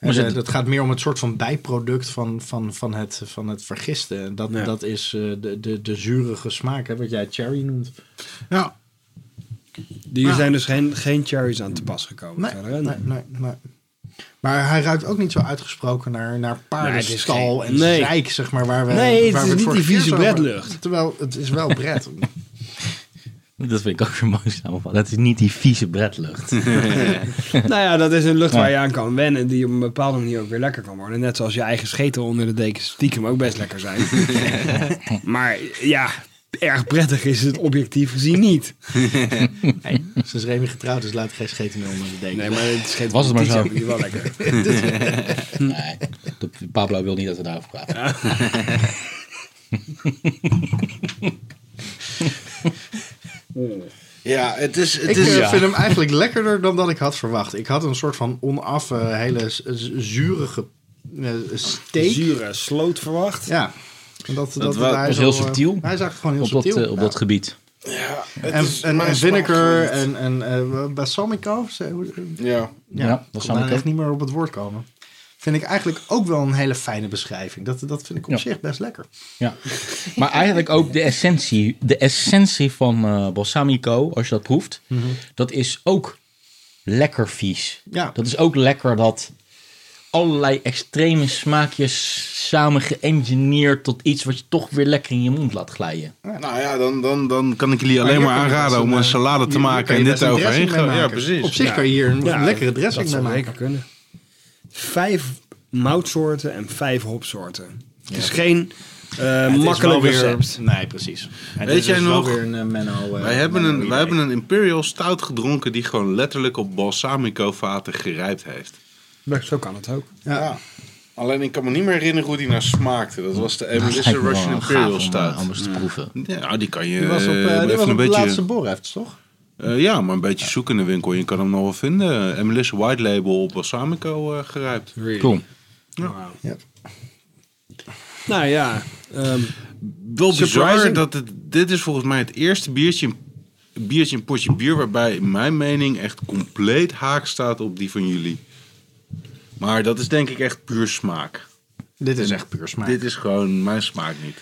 S1: Maar
S4: eh,
S1: zit-
S4: dat gaat meer om het soort van bijproduct van, van, van, het, van het vergisten. En Dat,
S2: Ja.
S4: dat is eh, de, de, de zurige smaak, hè, wat jij cherry noemt.
S3: Ja,
S2: Hier zijn dus geen, geen cherries aan te pas gekomen.
S4: Ah. Nee,
S2: verder, hè?
S4: nee, nee, nee. Maar hij ruikt ook niet zo uitgesproken naar, naar paardenstal
S2: Nee, het
S4: en
S2: is geen- nee.
S4: rijk, zeg maar. Waar we,
S2: Nee, het
S4: waar
S2: is
S4: we
S2: niet
S4: vorige
S2: die
S4: keer
S2: vieze
S4: zo over-
S2: bredlucht.
S4: Terwijl, het is wel bred.
S1: Dat vind ik ook weer mooi samenvat. Dat is niet die vieze bredlucht.
S2: nou ja, dat is een lucht waar je aan kan wennen. Die op een bepaalde manier ook weer lekker kan worden. Net zoals je eigen scheten onder de dekens stiekem ook best lekker zijn. maar ja, erg prettig is het objectief gezien niet.
S4: Nee, sinds Remy getrouwd is, laat geen scheten meer onder de deken.
S2: Nee, maar het scheet
S1: Was het maar zo.
S2: Die wel lekker.
S1: nee, de- Pablo wil niet dat we daarover praten.
S3: ja het is... Het
S4: Ik
S3: is
S4: eh,
S1: ja.
S4: vind hem eigenlijk lekkerder dan dat ik had verwacht. Ik had een soort van onaf, eh, hele z- z- zurige eh, steak.
S2: Zure sloot verwacht.
S4: Ja. En dat, dat,
S3: wa-
S4: hij
S1: was
S4: zo,
S1: heel
S4: eh,
S1: subtiel.
S4: hij is eigenlijk gewoon heel
S1: Op dat,
S4: subtiel.
S1: eh, op dat gebied.
S4: Ja. en, en, en vinegar en, en eh, balsamico. ze- hoe-
S3: Ja.
S1: Ja,
S4: ik
S1: balsamico.
S4: kon daar echt niet meer op het woord komen. Vind ik eigenlijk ook wel een hele fijne beschrijving. Dat, dat vind ik op
S1: Ja.
S4: zich best lekker.
S1: Ja. Maar eigenlijk ook de essentie, de essentie van eh, balsamico, als je dat proeft, dat is ook lekker vies.
S4: Ja.
S1: Dat is ook lekker dat allerlei extreme smaakjes samen geëngineerd tot iets wat je toch weer lekker in je mond laat glijden.
S3: Nou ja, dan, dan, dan kan ik jullie alleen
S4: hier
S3: maar
S4: kan je best
S3: aanraden om
S4: een,
S3: een
S4: eh,
S3: salade te
S4: Hier
S3: maken
S4: kan
S3: en
S4: je
S3: dit
S4: best een
S3: overheen
S4: dressing mee
S3: gaan. Ja,
S4: maken. Op
S3: precies.
S4: zich kan je hier een
S2: Ja,
S4: lekkere dressing
S2: dat zou
S4: mee maken.
S2: zeker kunnen. Vijf moutsoorten en vijf hopsoorten. Het is geen eh,
S4: Het is
S2: makkelijk
S4: wel
S2: recept.
S4: Nee, precies. En
S3: Weet
S4: dit
S3: jij
S4: is wel
S3: nog-
S4: Weer een, eh, Menno, eh,
S3: Wij hebben,
S4: Menno
S3: een, wij
S4: idee.
S3: hebben een Imperial Stout gedronken die gewoon letterlijk op balsamico-vaten gerijpt heeft.
S2: Zo kan het ook.
S4: Ja.
S3: Alleen ik kan me niet meer herinneren hoe die nou smaakte. Dat was de
S1: Dat
S3: Emelisse
S1: lijkt me wel
S3: Russian
S1: gaaf om,
S3: Imperial
S1: eh,
S3: Stout.
S1: Om eens te proeven.
S3: Ja, die kan je
S4: Die was op,
S3: eh,
S4: eh, die
S3: even
S4: was op
S3: een
S4: de
S3: beetje...
S4: laatste Borrefts, toch?
S3: Eh, ja, maar een beetje zoeken in de winkel. Je kan hem nog wel vinden. En Melissa White Label op balsamico eh, gerijpt.
S1: Cool.
S2: Nou ja, ehm,
S3: Wel bizar
S2: Surprising.
S3: dat het, dit is volgens mij het eerste biertje, biertje, een potje bier waarbij in mijn mening echt compleet haak staat op die van jullie. Maar dat is denk ik echt puur smaak.
S4: Dit is echt puur smaak.
S3: Dit is gewoon mijn smaak niet.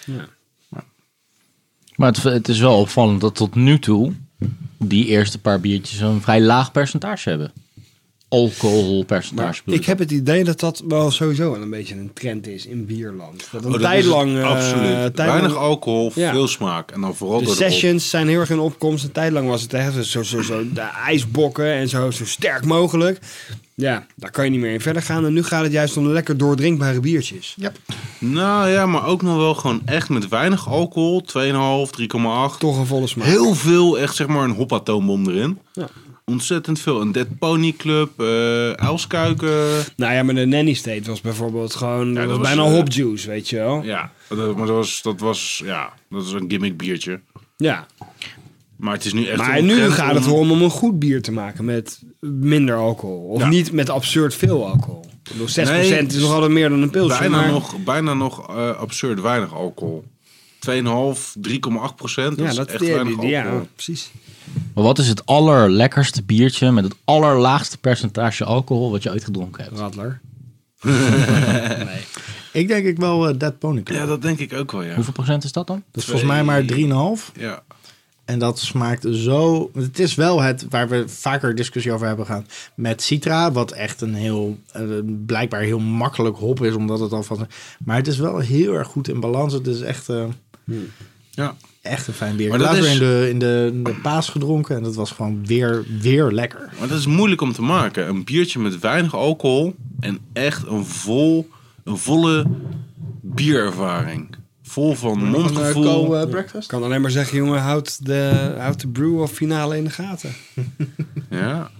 S1: Maar het, het is wel opvallend dat tot nu toe die eerste paar biertjes een vrij laag percentage hebben. Alcoholpercentage. bedoel
S2: ik heb het idee dat dat wel sowieso wel een beetje een trend is in bierland. Dat een
S3: Oh, dat
S2: tijd
S3: is het,
S2: lang... eh,
S3: absoluut.
S2: tijd lang-
S3: Weinig alcohol,
S2: Ja. Dus
S3: veel smaak. En dan vooral
S2: de
S3: door de alcohol.
S2: sessions zijn heel erg in opkomst. Een tijd lang was het echt zo, zo, zo de ijsbokken en zo, zo sterk mogelijk. Ja, daar kan je niet meer in verder gaan. En nu gaat het juist om lekker doordrinkbare biertjes.
S3: Nou ja, maar ook nog wel gewoon echt met weinig alcohol. 2,5, 3,8.
S2: Toch een volle smaak.
S3: Heel veel, echt zeg maar een hoppatoombom erin.
S2: Ja.
S3: Ontzettend veel. Een Dead Pony Club, eh uilskuiken.
S2: Nou ja, maar de Nanny State was bijvoorbeeld gewoon dat
S3: dat
S2: was
S3: was,
S2: bijna
S3: eh,
S2: hop juice, weet je wel. Ja.
S3: Ja, dat- maar dat was, dat was, ja, dat is een gimmick biertje. Maar het is nu echt...
S2: Maar
S3: een
S2: nu
S3: trend
S2: gaat
S3: om-
S2: het erom om een goed bier te maken met minder alcohol. Of
S3: Ja.
S2: niet met absurd veel alcohol. Ik bedoel, 6%
S3: Nee,
S2: is nog altijd meer dan een pilsje.
S3: Bijna
S2: maar-
S3: nog, bijna nog eh, absurd weinig alcohol. 2,5, 3,8 procent. Dat
S2: Ja,
S3: is
S2: dat
S3: echt
S2: die-
S3: weinig
S2: die- ja,
S3: alcohol.
S2: precies.
S1: Maar wat is het allerlekkerste biertje met het allerlaagste percentage alcohol wat je ooit gedronken hebt?
S2: Radler.
S4: Ik denk ik wel eh, Dead Pony Club.
S3: Ja, dat denk ik ook wel, ja.
S1: Hoeveel procent is dat dan?
S4: dat is volgens mij maar 3,5.
S3: Ja,
S4: En dat smaakt zo. Het is wel het waar we vaker discussie over hebben gehad. Met Citra, wat echt een heel. eh, blijkbaar heel makkelijk hop is, omdat het alvast. Maar het is wel heel erg goed in balans. Het is echt. eh,
S3: ja.
S4: Echt een fijn bier.
S3: Maar
S4: Ik heb
S3: dat
S4: later
S3: is-
S4: in, de, in, de, in de paas gedronken en dat was gewoon weer, weer lekker.
S3: Maar dat is moeilijk om te maken. Een biertje met weinig alcohol en echt een, vol, een volle bierervaring. Vol van mondgevoel.
S2: eh, Ik kan alleen maar zeggen, jongen, houd de, houd de brew of finale in de gaten.
S3: Ja.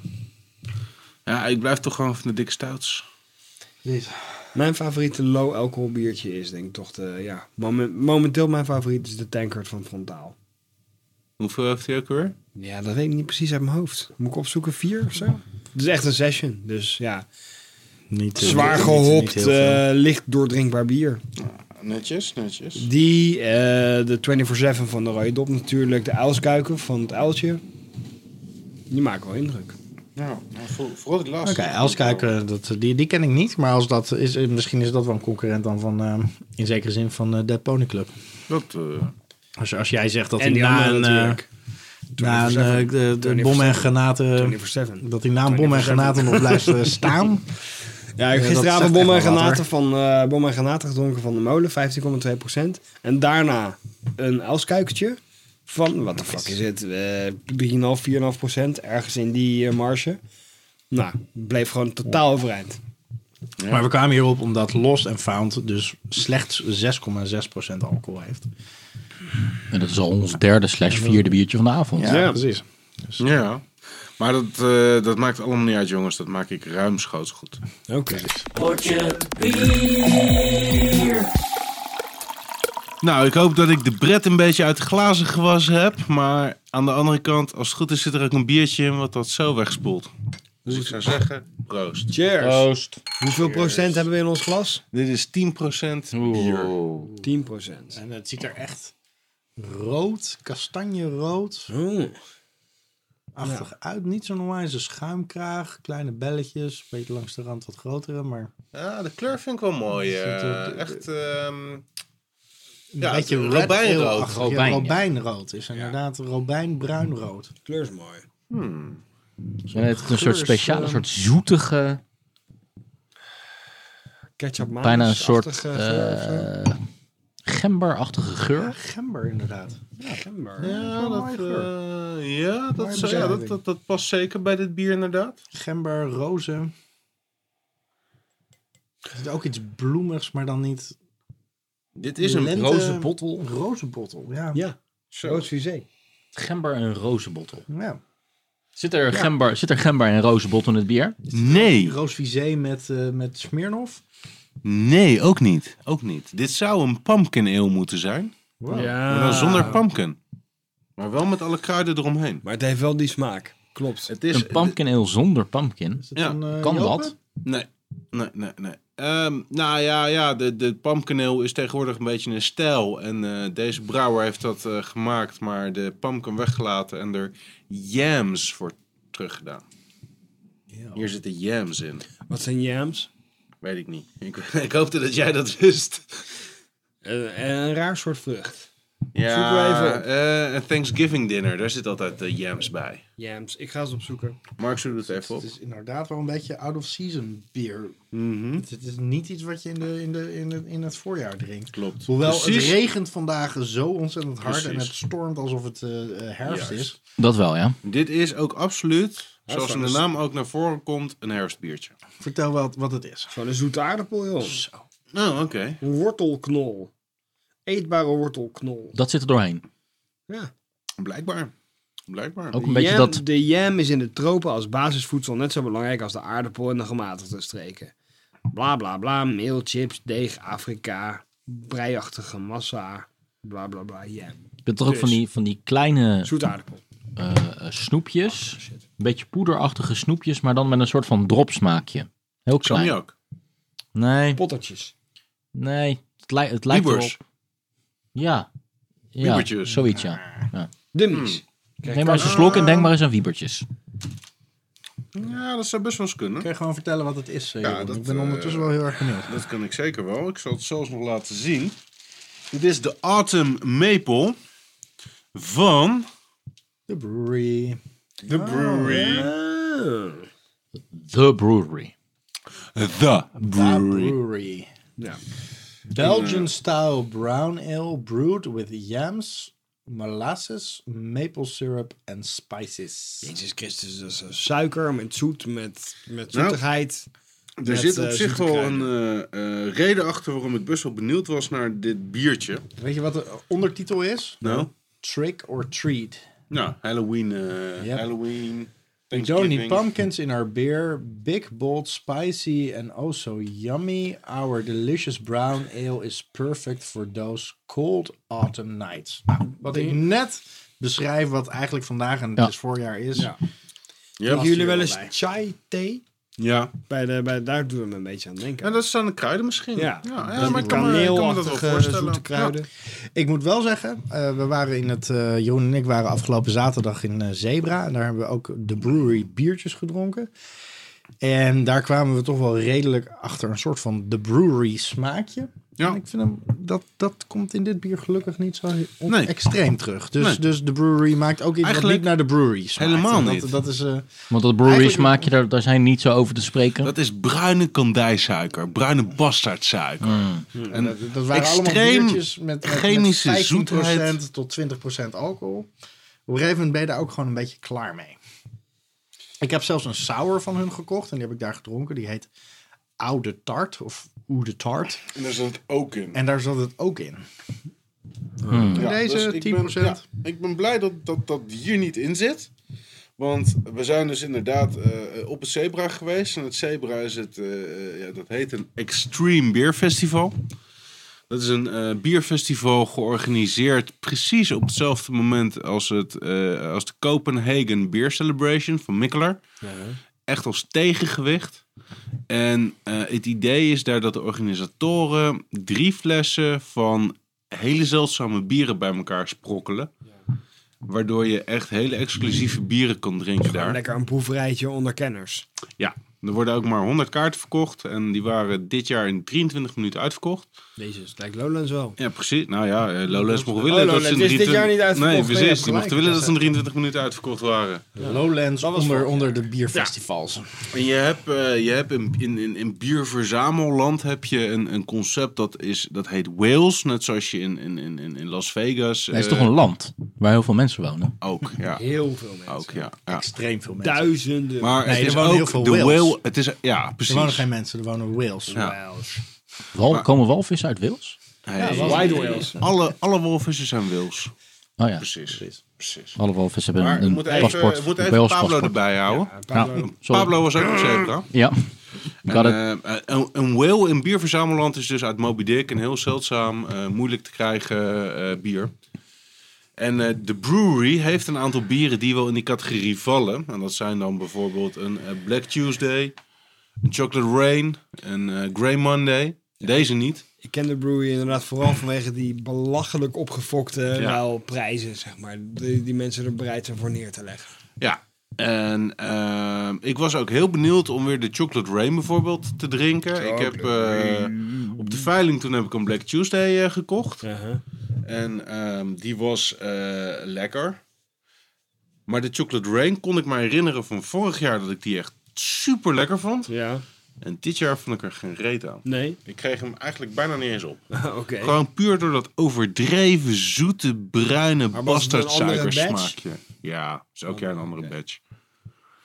S3: ja, ik blijf toch gewoon van de dikke stouts.
S2: Mijn favoriete low alcohol biertje is denk ik toch de, ja, momen- momenteel mijn favoriet is de Tankard van Frontaal.
S3: Hoeveel heeft hij ook weer?
S2: Ja, dat weet ik niet precies uit mijn hoofd. Moet ik opzoeken, vier of zo? Het is echt een session, dus ja.
S4: Niet, eh,
S2: Zwaar
S4: niet- niet- niet
S2: gehopt,
S4: heel veel.
S2: eh, licht doordrinkbaar bier.
S3: Netjes, netjes.
S2: Die, eh, de 24-7 van de Rode Dop natuurlijk, de uilskuiken van het uiltje. Die maken wel indruk.
S3: Ja, vooral die
S4: Oké,
S3: laatste.
S4: okay, Elskuiken, dat, die, die ken ik niet. Maar als dat is, eh, misschien is dat wel een concurrent dan van, eh, in zekere zin, van eh Dead Pony Club.
S3: Dat, eh,
S4: Als, als jij zegt dat
S2: en
S4: hij
S2: die
S4: na
S2: andere
S4: een, eh,
S2: natuurlijk.
S4: na een
S2: 24/7.
S4: eh, de, de bom en granaten...
S2: 24-7.
S4: eh, Dat hij na een bom en granaten nog blijft eh, staan.
S2: Ja,
S4: Ja,
S2: ik heb
S4: dat
S2: gisteravond
S4: zegt
S2: bommen en,
S4: echt wel wat,
S2: granaten van, eh bommen en granaten gedronken van de molen, 15,2 En daarna een uilskuikertje van, wat de fuck is het, eh 3,5, 4,5 Ergens in die eh, marge. Nou, bleef gewoon totaal overeind.
S4: Maar we kwamen hierop omdat Lost and Found dus slechts 6,6% alcohol heeft.
S1: En dat is al ons derde slash vierde biertje van de avond.
S2: Ja.
S4: precies.
S3: ja. Maar dat, eh, dat maakt allemaal niet uit, jongens. Dat maak ik ruimschoots goed.
S2: Oké.
S3: Nou, ik hoop dat ik de bret een beetje uit de glazen gewassen heb. Maar aan de andere kant, als het goed is, zit er ook een biertje in wat dat zo wegspoelt. Dus ik zou zeggen, proost.
S2: Cheers.
S1: Proost.
S2: Hoeveel procent hebben we in ons glas?
S3: Dit is 10% bier.
S2: 10 procent.
S4: En het ziet er echt rood, kastanjerood, achtig uit. Niet zo normaal. Het is een schuimkraag, kleine belletjes, een beetje langs de rand wat grotere, maar
S3: Ja, de kleur vind ik wel mooi. eh,
S4: Het is natuurlijk-
S3: echt, ehm,
S4: een
S3: Ja,
S4: beetje
S3: het-
S4: red
S3: robijnrood.
S4: ale-achtig. Ja,
S1: Robijn, ja.
S4: robijnrood is inderdaad robijnbruinrood.
S2: Kleur is mooi.
S1: En het Dus heeft een soort
S2: eh.
S1: speciale, soort zoetige,
S2: Ketchup
S1: bijna een soort eh, gemberachtige geur.
S4: Gember inderdaad.
S3: ja,
S4: wel een
S3: dat,
S4: mooie
S3: eh, ja, dat, zou- ja dat, dat, dat past zeker bij dit bier inderdaad.
S4: Gember, rozen. Er zit ook iets bloemigs, maar dan niet
S3: Dit
S4: is een Lente- roze
S3: bottel.
S4: rozenbottel. Ja.
S2: Ja,
S3: Zo.
S2: rood fusé.
S1: Gember en rozenbottel.
S4: ja.
S1: Zit er, gember, zit er gember en rozenbottel in het bier?
S3: Nee,
S4: Roosvisé met, eh met Smirnoff.
S3: nee, ook niet. Ook niet. Dit zou een pumpkin ale moeten zijn.
S4: Wow.
S3: Maar dan zonder pumpkin. Maar wel met alle kruiden eromheen.
S2: Maar het heeft wel die smaak. Klopt.
S3: Het is,
S1: Een pumpkin ale zonder pumpkin.
S4: Is dat
S3: Ja,
S4: eh,
S1: kan
S4: Jopen?
S1: dat?
S3: Nee, nee, nee, nee. Ehm, nou ja, ja de, de pumpkaneel is tegenwoordig een beetje een stijl. En eh, deze brouwer heeft dat eh, gemaakt, maar de pumpkin weggelaten en er yams voor teruggedaan. Hier zitten yams in.
S2: Wat zijn jams?
S3: Weet ik niet. Ik, ik hoopte dat jij dat wist.
S2: Eh, een raar soort vrucht.
S3: Ja,
S2: Zoek maar even.
S3: eh, een Thanksgiving dinner, daar zit altijd de yams bij.
S2: Jams. Ik ga ze opzoeken.
S3: Mark, zoek het even op.
S4: Het is inderdaad wel een beetje out-of-season bier.
S3: Mhm.
S4: Het, het is niet iets wat je in, de, in, de, in, de, in het voorjaar drinkt.
S3: Klopt.
S4: Hoewel
S3: Precies.
S4: het regent vandaag zo ontzettend hard en
S3: Precies.
S4: het stormt alsof het eh, eh, herfst
S3: Juist.
S4: is.
S1: Dat wel, ja.
S3: Dit is ook absoluut, zoals in de
S2: is-
S3: naam ook naar voren komt, een herfstbiertje.
S4: Vertel wat, wat het is.
S2: Gewoon een zoete aardappel, joh.
S3: Oh,
S4: Nou,
S3: oké.
S2: Een wortelknol. Eetbare wortelknol.
S1: Dat zit er doorheen.
S2: Ja.
S3: Blijkbaar. Blijkbaar.
S1: Ook
S2: De
S1: een beetje
S2: jam-
S1: dat...
S2: De jam is in de tropen als basisvoedsel net zo belangrijk als de aardappel en de gematigde streken. Bla bla bla, meel, chips, deeg, Afrika, breiachtige massa, bla bla bla, jam.
S1: Je hebt toch ook van die, van die kleine
S2: Zoete aardappel.
S1: eh, eh, snoepjes. Een beetje poederachtige snoepjes, maar dan met een soort van dropsmaakje. Heel klein.
S3: Cognac.
S1: Nee,
S2: Pottertjes.
S1: nee. Het, lij- het lijkt
S3: Biebers.
S1: erop. Ja. ja
S3: Biebertjes.
S1: zoiets, ja.
S2: Dummies. Kijk,
S1: Hmm. Neem maar eens een slok en denk maar eens aan wiebertjes.
S3: Ja, dat zou best wel eens kunnen.
S4: Kun je gewoon vertellen wat het is? eh,
S3: Ja,
S4: Jeroen?
S3: dat,
S4: ik ben ondertussen
S3: eh,
S4: wel heel erg benieuwd.
S3: Dat kan ik zeker wel. Ik zal het zelfs nog laten zien. Dit is de Autumn Maple van
S4: De brewery.
S3: The Brewery.
S2: Ah.
S1: The Brewery.
S3: The
S4: Da
S3: Brewery.
S4: brewery.
S2: Ja. Mm.
S4: Belgian style brown ale brewed with yams, molasses, maple syrup en spices.
S2: Jezus Christus, dat is eh, suiker met zoet, met, met
S3: Nou,
S2: zoetigheid.
S3: Er
S2: met,
S3: zit op
S2: eh,
S3: zich
S2: zoete
S3: wel een
S2: kruiden.
S3: eh, eh, reden achter waarom ik best wel benieuwd was naar dit biertje.
S4: Weet je wat de ondertitel is?
S3: Nou,
S4: Trick or treat.
S3: nou Halloween. eh,
S4: Yep.
S3: Halloween.
S4: We don't need
S3: Thanksgiving.
S4: pumpkins in our beer. Big, bold, spicy, and oh so yummy. Our delicious brown ale is perfect for those cold autumn nights. Nou, wat ik net beschrijf, wat eigenlijk vandaag en
S1: Ja.
S4: het is voorjaar is.
S2: Ja.
S3: Yep.
S2: Hebben jullie wel
S4: hier wel
S2: eens
S4: bij.
S2: chai thee?
S3: Ja.
S2: Bij de, bij, daar doen we me een beetje aan denken.
S3: ja, dat zijn de kruiden misschien.
S2: Ja,
S3: ja,
S2: Dat
S3: maar ik
S2: die
S3: kan me, ik kan me dat wel
S2: kaneelachtige,
S3: voorstellen.
S2: zoete
S3: Ja.
S2: kruiden.
S4: Ik moet wel zeggen, eh, we waren in het, eh Jeroen en ik waren afgelopen zaterdag in eh, Zebra. En daar hebben we ook de brewery biertjes gedronken. En daar kwamen we toch wel redelijk achter een soort van de brewery smaakje.
S3: Ja.
S4: En ik vind hem, dat, dat komt in dit bier gelukkig niet zo on-
S3: Nee.
S4: extreem terug. Dus,
S3: Nee.
S4: dus de brewery maakt ook iets
S3: Eigenlijk
S4: wat niet naar de brewery smaakt.
S3: helemaal
S4: En dat,
S3: niet.
S4: Dat is, eh,
S1: Want dat brewery
S4: Eigenlijk-
S1: smaakje, daar, daar zijn niet zo over te spreken.
S3: Dat is bruine kandijsuiker, bruine bastardsuiker. En
S4: dat, dat waren
S3: extreem
S4: allemaal biertjes met, met,
S3: chemische
S4: met 15%
S3: zoetheid.
S4: tot 20% alcohol. Op een gegeven moment ben je daar ook gewoon een beetje klaar mee. Ik heb zelfs een sour van hun gekocht en die heb ik daar gedronken. Die heet Oude Tart of Oude Tart.
S3: En daar zat het ook in.
S4: En daar zat het ook in.
S3: Ja, dus
S4: deze
S2: dus
S3: ik
S4: 10%.
S3: Ben, ja, ik ben blij dat, dat dat hier niet in zit. Want we zijn dus inderdaad eh, op het Zebra geweest. En het Zebra is het, eh, ja, dat heet een Extreme Beer Festival. Dat is een eh, bierfestival georganiseerd precies op hetzelfde moment als, het, eh, als de Copenhagen Beer Celebration van Mikkeler. Echt als tegengewicht. En eh, het idee is daar dat de organisatoren drie flessen van hele zeldzame bieren bij elkaar sprokkelen. Waardoor je echt hele exclusieve bieren kan drinken
S2: Gewoon
S3: daar.
S2: Lekker een proeverijtje onder kenners.
S3: Ja, er worden ook maar 100 kaarten verkocht. En die waren dit jaar in 23 minuten uitverkocht.
S2: Deze is lijkt Lowlands wel.
S3: Ja, precies. Nou ja, eh, Lowlands mocht
S2: Oh,
S3: willen dat
S2: Lowlands
S3: ze in
S2: is dit
S3: 23
S2: jaar niet uitverkocht.
S3: Nee,
S2: Nee, je
S3: precies.
S2: hebt
S3: Die mochten
S2: gelijk.
S3: willen dat ze in 23 minuten uitverkocht waren.
S4: Lowlands onder,
S2: vorig
S4: onder de bierfestivals.
S3: En je hebt, eh, je hebt in, in, in, in bierverzamelland heb je een, een concept dat, is, dat heet Wales. Net zoals je in, in, in, in in Las Vegas.
S1: Het is
S3: eh,
S1: toch een land waar heel veel mensen wonen.
S3: Ook, ja.
S2: Heel veel mensen.
S3: Ook, ja. ja.
S4: Extreem veel mensen.
S2: Duizenden.
S3: Maar
S4: Nee,
S3: het
S4: er
S3: is
S4: wonen heel veel
S3: ook de
S4: Wales.
S3: Wales. Het is, ja,
S4: Er
S3: precies.
S4: wonen geen mensen, er wonen whales.
S2: Wales.
S1: Wal, komen walvissen uit Wils?
S3: Hey.
S2: Wales. Wide Wales.
S3: Alle, alle walvissen zijn Wils.
S1: Oh ja,
S3: Precies. Precies.
S1: alle walvissen hebben
S3: Maar we
S1: een,
S3: moeten even,
S1: paspoort.
S3: we moeten
S1: een
S3: even
S1: Wales
S3: Pablo
S1: paspoort.
S3: erbij houden.
S1: Ja, sorry.
S3: Pablo was ook op zebra.
S1: Ja, got
S3: En,
S1: it.
S3: eh, een, een whale in bierverzamelland is dus uit Moby Dick een heel zeldzaam, eh, moeilijk te krijgen eh, bier. En eh, de brewery heeft een aantal bieren die wel in die categorie vallen. En dat zijn dan bijvoorbeeld een eh, Black Tuesday, een Chocolate Rain, een eh, Grey Monday. Deze niet.
S2: Ik ken de brewery inderdaad vooral vanwege die belachelijk opgefokte nou, prijzen, zeg maar. Die, die mensen er bereid zijn voor neer te leggen.
S3: Ja. En ehm, ik was ook heel benieuwd om weer de Chocolate Rain bijvoorbeeld te drinken. ik heb eh, op de veiling toen heb ik een Black Tuesday eh, gekocht.
S2: Uh-huh.
S3: En ehm, die was eh, lekker. Maar de Chocolate Rain kon ik me herinneren van vorig jaar dat ik die echt super lekker vond.
S2: Ja.
S3: En dit jaar vond ik er geen reet aan.
S2: Nee?
S3: Ik kreeg hem eigenlijk bijna niet eens op.
S2: Oké.
S3: Gewoon puur door dat overdreven zoete bruine
S2: Maar was het een andere batch?
S3: bastardsuikersmaakje. Ja, is elk jaar een andere batch.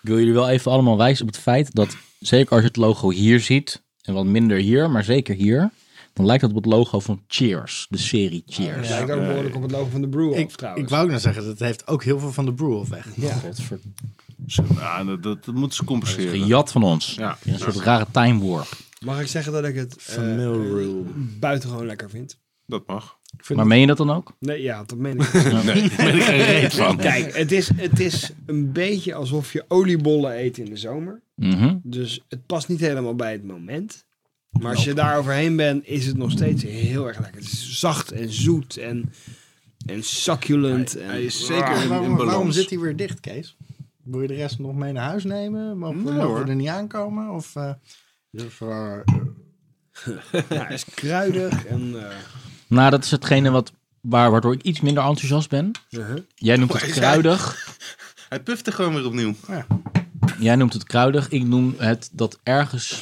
S1: Ik wil jullie wel even allemaal wijzen op het feit dat, zeker als je het logo hier ziet, en wat minder hier, maar zeker hier, dan lijkt het op het logo van Cheers, de serie Cheers.
S2: Dat lijkt ook behoorlijk op het logo van de brew
S4: Ik,
S2: ik,
S4: ik
S2: trouwens.
S4: wou ook nog zeggen, dat heeft ook heel veel van de brew weg.
S2: ja.
S1: Godver-
S3: Zo, nou, dat, dat, dat moeten ze compenseren.
S1: Gejat van ons.
S3: Ja.
S1: In een soort rare time warp.
S2: Mag ik zeggen dat ik het eh,
S4: Milrule.
S2: buitengewoon lekker vind?
S3: Dat mag.
S2: Ik vind
S1: Maar
S2: het-
S1: meen je dat dan ook?
S2: Nee, ja, dat meen ik.
S3: Nee, daar ben ik geen reet van.
S2: Kijk, het is, het is een beetje alsof je oliebollen eet in de zomer.
S1: Mhm.
S2: Dus het past niet helemaal bij het moment. Maar als je daar overheen bent, is het nog steeds heel erg lekker. Het is zacht en zoet en, en succulent. en,
S3: Hij is zeker in, in
S4: Waarom,
S3: balans.
S4: waarom zit hij weer dicht, Kees? Wil je de rest nog mee naar huis nemen? Mogen, we-
S3: Nee,
S4: mogen
S3: hoor.
S4: we er niet aankomen? Of, eh, dus, eh,
S2: Ja, hij is kruidig en... eh,
S1: Nou, dat is hetgene wat, waar, waardoor ik iets minder enthousiast ben.
S2: uh-huh.
S1: Jij noemt het kruidig.
S3: Hij puft er gewoon weer opnieuw.
S1: Jij noemt het kruidig. Ik noem het dat ergens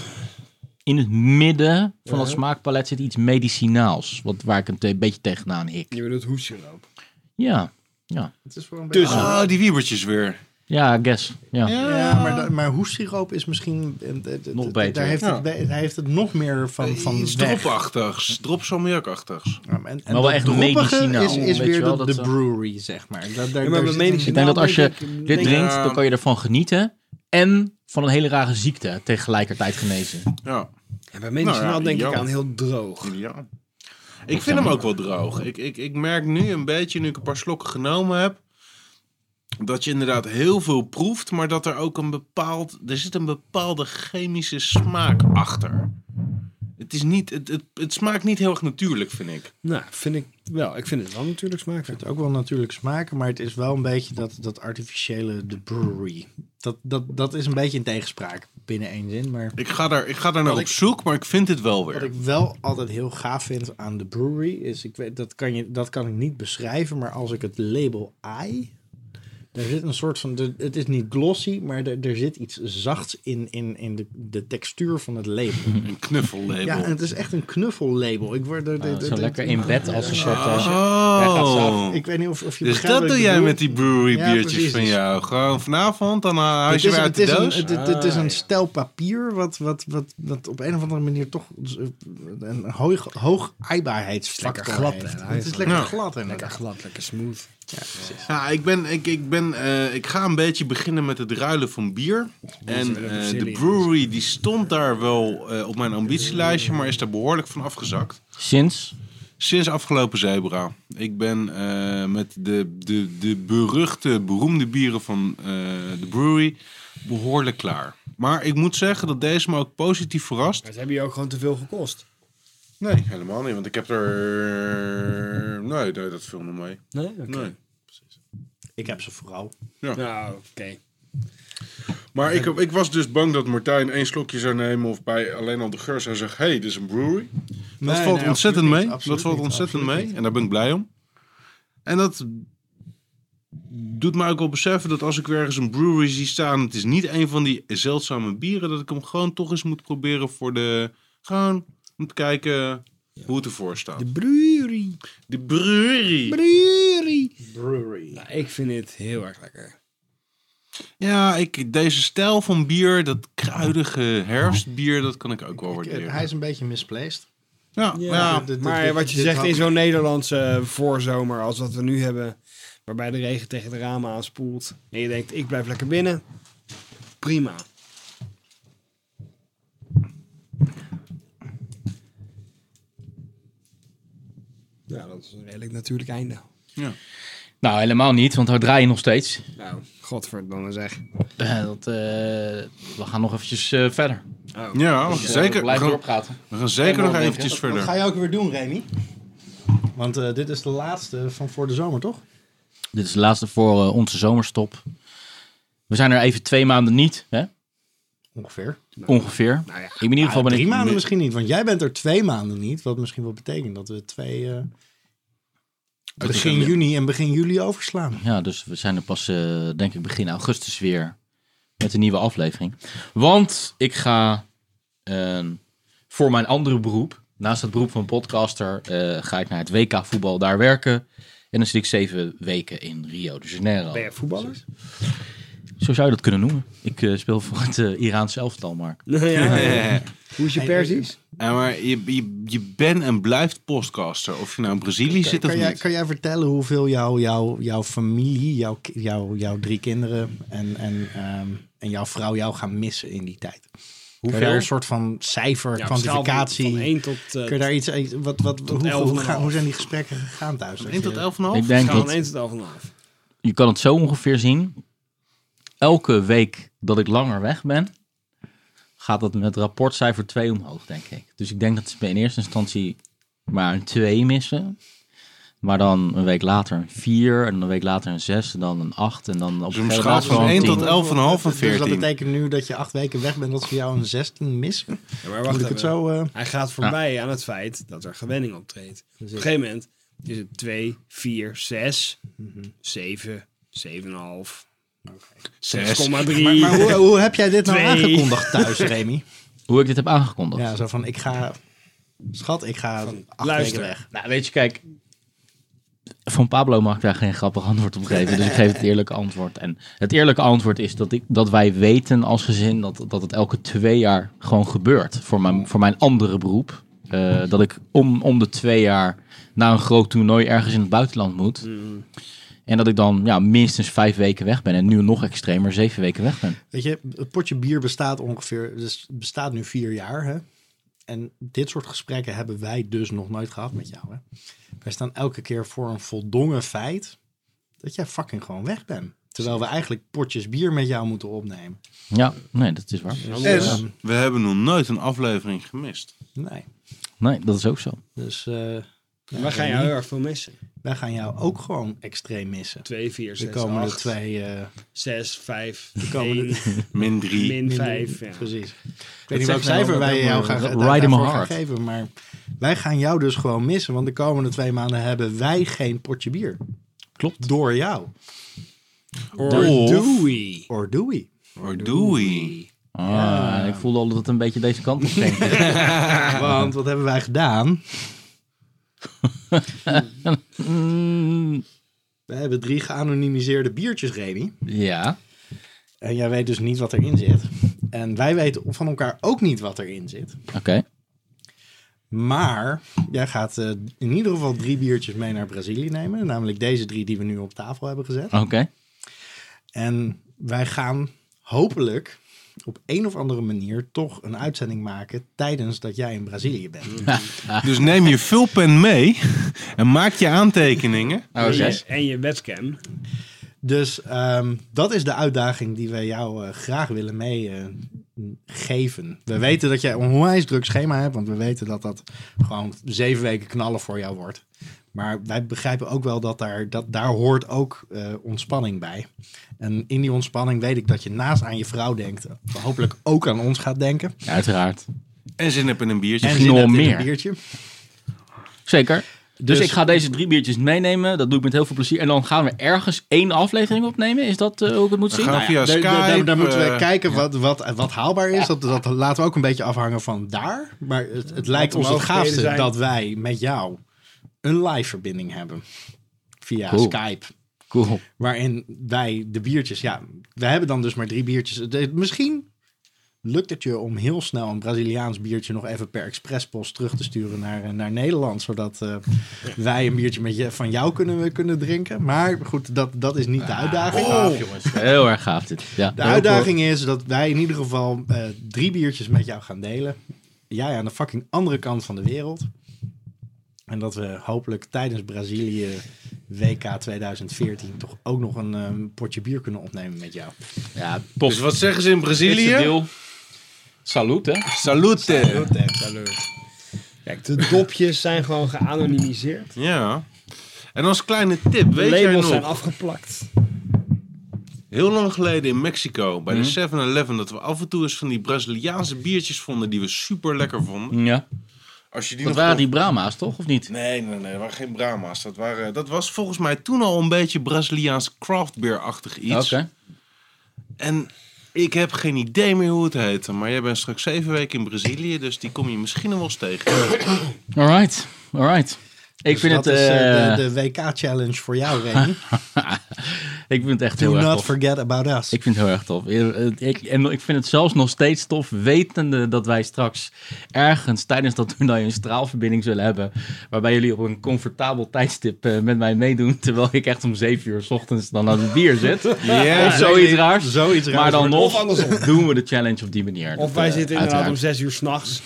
S1: in het midden van dat smaakpalet zit iets medicinaals. Wat, waar ik een te- beetje tegenaan hik.
S2: Je bedoelt hoessiroop.
S1: Ja. Ja,
S4: het is voor een beetje... Ah,
S2: Tussen.
S3: Oh, die wiebertjes weer.
S1: ja I guess. Ja.
S4: Ja, maar, da- maar hoessiroop is misschien... eh, d- d-
S1: Nog
S4: d-
S1: beter.
S4: Daar heeft,
S3: Ja.
S4: het, be- hij heeft het nog meer van, van
S3: Iets
S4: weg.
S3: dropachtigs. Dropsalmiakachtigs.
S4: Ja, en, en
S1: wel
S4: dat
S1: echt
S4: droppige
S1: medicinaal,
S4: is,
S1: weet
S4: is
S1: je
S4: weer
S1: wel,
S4: de,
S1: dat
S4: de
S1: zo.
S4: brewery, zeg maar. Daar, daar,
S2: Ja,
S4: daar
S2: maar bij
S4: zit
S2: medicinaal
S1: Ik denk dat als je
S2: denk ik-
S1: dit
S2: denk-
S1: drinkt,
S3: Ja.
S1: dan kan je ervan genieten. En van een hele rare ziekte tegelijkertijd genezen.
S3: Ja.
S2: Ja, bij medicinaal
S3: Nou ja,
S2: denk ik
S3: ideaal.
S2: aan heel droog.
S3: ja. Ik vind hem ook wel droog. Ik, ik, ik merk nu een beetje, nu ik een paar slokken genomen heb, dat je inderdaad heel veel proeft, maar dat er ook een bepaald, er zit een bepaalde chemische smaak achter. Het, is niet, het, het, het smaakt niet heel erg natuurlijk, vind ik.
S2: Nou, vind ik wel. Ik vind het wel natuurlijk smakelijk.
S4: Het ook wel natuurlijk smaken, maar het is wel een beetje dat, dat artificiële, de brewery. Dat, dat, dat is een beetje in tegenspraak binnen één zin. Maar
S3: Ik ga daar, ik ga daar naar
S4: Wat
S3: op
S4: ik-
S3: zoek, maar ik vind dit wel
S4: wat
S3: weer.
S4: ik wel altijd heel gaaf vind aan de brewery is, ik weet, dat, kan je, dat kan ik niet beschrijven, maar als ik het label I, daar zit een soort van, de- het is niet glossy, maar er, er zit iets zachts in, in, in de, de textuur van het label.
S3: Een knuffellabel.
S4: Ja, en het is echt een knuffellabel. Ik word er,
S1: Ah, zo lekker in bed als een soort... eh,
S3: oh,
S4: Ik weet niet of, of je
S3: dus
S4: begrijpt
S3: dat
S4: wat
S3: doe
S4: ik
S3: jij
S4: bedoel.
S3: met die brewery
S4: Ja,
S3: biertjes
S4: precies.
S3: van jou. Gewoon vanavond, dan eh, haal je
S4: Het
S3: ze
S4: is,
S3: weer uit
S4: het,
S3: de
S4: is een,
S3: doos.
S4: het, het- het is een stel papier wat, wat, wat, wat op een of andere manier toch een hoog, hoog aaibaarheidsfactor
S2: Lekker glad, hè,
S4: heeft.
S2: hij
S4: Het
S2: is
S4: is lekker
S3: Ja.
S4: glad
S2: Lekker
S4: inderdaad.
S2: glad, lekker smooth.
S3: Ja, ik, ben, ik, ik, ben, eh, ik ga een beetje beginnen met het ruilen van bier. En eh, de brewery die stond daar wel eh, op mijn ambitielijstje, maar is daar behoorlijk van afgezakt.
S1: sinds...
S3: Sinds afgelopen Zebra. Ik ben eh, met de, de, de beruchte, beroemde bieren van eh, de brewery behoorlijk klaar. Maar ik moet zeggen dat deze me ook positief verrast.
S2: Maar ze hebben je ook gewoon te veel gekost.
S3: Nee, helemaal niet, want ik heb er... Nee, nee dat viel me mee.
S2: Nee? Oké.
S3: Nee.
S4: Ik heb ze vooral.
S2: Nou, oké.
S3: Maar ik, ik was dus bang dat Martijn één slokje zou nemen of bij alleen al de geur zou zeggen: hey, dit is een brewery. Dat
S4: Nee,
S3: valt
S4: nee,
S3: ontzettend
S4: absoluut
S3: mee.
S4: niet, absoluut
S3: dat valt
S4: niet,
S3: ontzettend
S4: absoluut
S3: mee.
S4: niet.
S3: En daar ben ik blij om. En dat doet mij ook wel beseffen dat als ik weer ergens een brewery zie staan, het is niet een van die zeldzame bieren, dat ik hem gewoon toch eens moet proberen voor de. Gewoon om te kijken hoe het ervoor staat.
S2: De brewery.
S3: De brewery.
S2: Brewery.
S4: Brewery.
S2: Nou, ik vind het heel erg lekker.
S3: Ja, ik, deze stijl van bier, dat kruidige herfstbier, dat kan ik ook wel waarderen.
S4: Hij is een beetje misplaced.
S3: Ja, ja.
S4: dit- dit-
S2: maar
S4: dit-
S2: wat je
S4: dit
S2: zegt
S4: had-
S2: in zo'n Nederlandse eh, voorzomer als wat we nu hebben, waarbij de regen tegen de ramen aanspoelt en je denkt, ik blijf lekker binnen, prima. Nou, Ja, dat is een redelijk natuurlijk einde.
S1: Nou, helemaal niet, want daar draai je nog steeds.
S2: Nou, godverdomme zeg.
S1: Eh, dat, eh, we gaan nog eventjes eh, verder.
S3: Ja,
S1: Dus, eh, We
S3: zeker. We
S1: blijven
S3: gaan,
S1: doorpraten.
S3: we gaan zeker nog eventjes
S4: Wat ga
S3: verder.
S4: je ook weer doen, Remy? Want eh, dit is de laatste van voor de zomer, toch?
S1: Dit is de laatste voor eh, onze zomerstop. We zijn er even twee maanden niet, hè?
S4: Ongeveer.
S1: ongeveer.
S2: Nou ja.
S1: Ik ben in ieder geval ben
S4: drie
S1: ik...
S4: maanden misschien niet, want jij bent er twee maanden niet. Wat misschien wel betekent dat we twee eh, begin juni en begin juli overslaan.
S1: Ja, dus we zijn er pas, eh, denk ik, begin augustus weer met een nieuwe aflevering. Want ik ga eh, voor mijn andere beroep, naast het beroep van podcaster, eh, ga ik naar het WK voetbal daar werken. En dan zit ik zeven weken in Rio de Janeiro.
S2: Ben je voetballer?
S1: Zo zou je dat kunnen noemen. Ik eh, speel voor het eh, Iraanse elftal, Mark.
S2: ja,
S3: Ja,
S2: Hoe is je
S4: eh,
S2: Perzisch?
S3: maar je, je, je bent en blijft podcaster. Of je nou in Brazilië zit of
S4: Kan jij,
S3: niet.
S4: kan jij vertellen hoeveel jouw jouw jouw familie, jouw ki- jouw jouw drie kinderen en, en, ehm, en jouw vrouw jou gaan missen in die tijd? Hoeveel? Kun je daar een soort van cijfer, kwantificatie...
S2: Van 1 tot... eh,
S4: kun je daar iets... iets- Wat, wat, hoe,
S2: 11,5.
S4: hoe, gaan- hoe zijn die gesprekken gegaan thuis?
S3: Eén tot elf en een half?
S1: Ik denk
S2: schaal van
S1: dat
S2: 1 tot 11,5.
S1: je kan het zo ongeveer zien. Elke week dat ik langer weg ben, gaat dat met rapportcijfer 2 omhoog, denk ik. Dus ik denk dat ze in eerste instantie maar een 2 missen. Maar dan een week later een 4, en dan een week later een 6, en dan een 8, en dan op
S3: Dus een
S1: gegeven
S3: schaal
S1: moment
S3: van
S1: gewoon
S3: 1
S1: een
S3: tot
S1: 10.
S3: 11 en een half en
S4: Dus dat
S3: 14.
S4: betekent nu dat je acht weken weg bent, dat ze jou een 16 missen?
S2: Ja, maar
S4: Moet
S2: wacht
S4: ik het
S2: even.
S4: zo... eh,
S2: Hij gaat voorbij aan het feit dat er gewenning optreedt. Op een gegeven moment is het 2, 4, 6,
S4: Mhm.
S2: 7, 7,5,
S3: Zes.
S2: 6,3.
S4: Maar, maar hoe, hoe heb jij dit nou
S2: Twee.
S4: aangekondigd thuis, Remy?
S1: Hoe ik dit heb aangekondigd.
S4: Ja, zo van, ik ga... Schat, ik ga acht
S2: luister.
S4: weken weg.
S1: Nou, weet je, kijk. Van Pablo mag ik daar geen grappig antwoord op geven. Dus ik geef het eerlijke antwoord. En het eerlijke antwoord is dat, ik, dat wij weten als gezin dat, dat het elke twee jaar gewoon gebeurt. Voor mijn, voor mijn andere beroep. Eh, dat ik om, om de twee jaar naar een groot toernooi ergens in het buitenland moet. En dat ik dan ja, minstens vijf weken weg ben. En nu nog extremer zeven weken weg ben.
S4: Weet je, het potje bier bestaat ongeveer... Dus het bestaat nu vier jaar, hè? En dit soort gesprekken hebben wij dus nog nooit gehad met jou, hè? Wij staan elke keer voor een voldongen feit... dat jij fucking gewoon weg bent. Terwijl we eigenlijk potjes bier met jou moeten opnemen.
S1: Ja, nee, dat is waar.
S3: Zes. We hebben nog nooit een aflevering gemist.
S4: Nee.
S1: Nee, dat is ook zo.
S4: Dus eh
S2: We gaan jou heel erg veel missen.
S4: wij gaan jou ook gewoon extreem missen.
S2: 2, 4,
S4: De
S2: 6,
S4: komende
S2: 8,
S4: twee... eh,
S2: 6, 5,
S4: komende-
S2: 1,
S3: Min 3.
S2: min 5. Ja.
S4: Precies. Ik weet
S1: zegt
S4: niet welk cijfer
S1: nou
S4: wij
S1: dat
S4: jou
S1: helemaal-
S4: gaan,
S1: Ride
S4: daar-
S1: in my
S4: daarvoor gaan
S1: heart.
S4: geven, maar wij gaan jou dus gewoon missen. Want de komende twee maanden hebben wij geen potje bier. Klopt. Door jou.
S2: Or
S4: Oh.
S3: Of-
S2: do we?
S4: Or do we?
S3: Or do we?
S1: Ah, Ik voelde al dat het een beetje deze kant op ging.
S4: Want wat hebben wij gedaan?
S1: Mm,
S4: We hebben drie geanonimiseerde biertjes, Remy.
S1: ja.
S4: En jij weet dus niet wat erin zit. En wij weten van elkaar ook niet wat erin zit.
S1: Oké.
S4: Maar jij gaat eh, in ieder geval drie biertjes mee naar Brazilië nemen. Namelijk deze drie die we nu op tafel hebben gezet.
S1: Oké.
S4: En wij gaan hopelijk op een of andere manier toch een uitzending maken tijdens dat jij in Brazilië bent.
S3: Dus neem je vulpen mee en maak je aantekeningen.
S4: Nou,
S1: Oh,
S2: En je- En je webcam.
S4: Dus ehm, dat is de uitdaging die wij jou eh, graag willen meegeven. we weten dat jij een onwijs druk schema hebt, want we weten dat dat gewoon zeven weken knallen voor jou wordt. Maar wij begrijpen ook wel dat daar, dat daar hoort ook eh, ontspanning bij. En in die ontspanning weet ik dat je naast aan je vrouw denkt, hopelijk ook aan ons gaat denken.
S1: Uiteraard.
S3: En zin hebben in een biertje.
S1: Misschien
S4: zin
S1: wel
S4: hebt in een
S1: meer.
S4: biertje.
S1: Zeker. Dus,
S4: Dus-
S1: ik ga deze drie biertjes meenemen. Dat doe ik met heel veel plezier. En dan gaan we ergens één aflevering opnemen. Is dat eh, hoe ik het moet zien?
S3: gaan we via
S4: Daar- daar- daar-
S3: Skype,
S4: daar moeten we
S3: eh,
S4: kijken wat, wat, wat haalbaar is. Dat, dat laten we ook een beetje afhangen van daar. Maar het, het lijkt
S2: de
S4: ons het
S2: mogelijkheden
S4: gaafste
S2: zijn.
S4: dat wij met jou een live verbinding hebben. Via
S1: Cool.
S4: Skype.
S1: Cool.
S4: Waarin wij de biertjes... Ja, we hebben dan dus maar drie biertjes. De- misschien lukt het je om heel snel een Braziliaans biertje... nog even per expresspost terug te sturen naar, eh, naar Nederland. Zodat eh, wij een biertje met je, van jou kunnen, kunnen drinken. Maar goed, dat, dat is niet de uitdaging.
S1: Gaaf, jongens. Heel erg gaaf dit. Ja.
S4: De uitdaging is dat wij in ieder geval eh, drie biertjes met jou gaan delen. Jij aan de fucking andere kant van de wereld. En dat we hopelijk tijdens Brazilië WK 2014 toch ook nog een eh, potje bier kunnen opnemen met jou.
S1: Ja,
S3: Dus wat zeggen ze in Brazilië?
S1: deel. Salut, hè?
S3: Salute.
S2: Kijk, de dopjes zijn gewoon geanonimiseerd.
S3: Ja. En als kleine tip,
S2: De
S3: weet jij
S2: labels
S3: nog,
S2: zijn afgeplakt.
S3: heel lang geleden in Mexico, bij de 7-Eleven, dat we af en toe eens van die Braziliaanse biertjes vonden die we super lekker vonden.
S1: Ja.
S3: Als je die
S1: Dat
S3: nog
S1: waren
S3: kon-
S1: die Brahma's, toch? Of niet?
S3: Nee, nee, nee, dat waren geen Brahma's. Dat, waren, dat was volgens mij toen al een beetje Braziliaans craftbeer-achtig
S1: Oké.
S3: iets. En ik heb geen idee meer hoe het heette, maar jij bent straks zeven weken in Brazilië, dus die kom je misschien nog wel eens tegen.
S1: Alright. Alright. Ik
S4: Dus
S1: vind
S4: dat
S1: het...
S4: is eh,
S1: eh,
S4: de, de WK-challenge voor jou, Remy.
S1: ik vind het echt
S4: Do
S1: heel erg
S4: not
S1: tof.
S4: forget about us.
S1: Ik vind het heel erg tof. Eh, Ik, en ik vind het zelfs nog steeds tof, wetende dat wij straks ergens tijdens dat toernooi een straalverbinding zullen hebben. Waarbij jullie op een comfortabel tijdstip eh, met mij meedoen. Terwijl ik echt om 7 uur 's ochtends dan aan het bier zit.
S3: Ja,
S1: of zoiets raars.
S4: Zoiets raars
S1: maar dan
S4: wordt-
S1: nog
S2: Of andersom.
S1: doen we de challenge op die manier.
S2: Of
S1: Dat,
S2: wij
S1: eh,
S2: zitten inderdaad
S1: uiteraard.
S2: om zes uur s'nachts.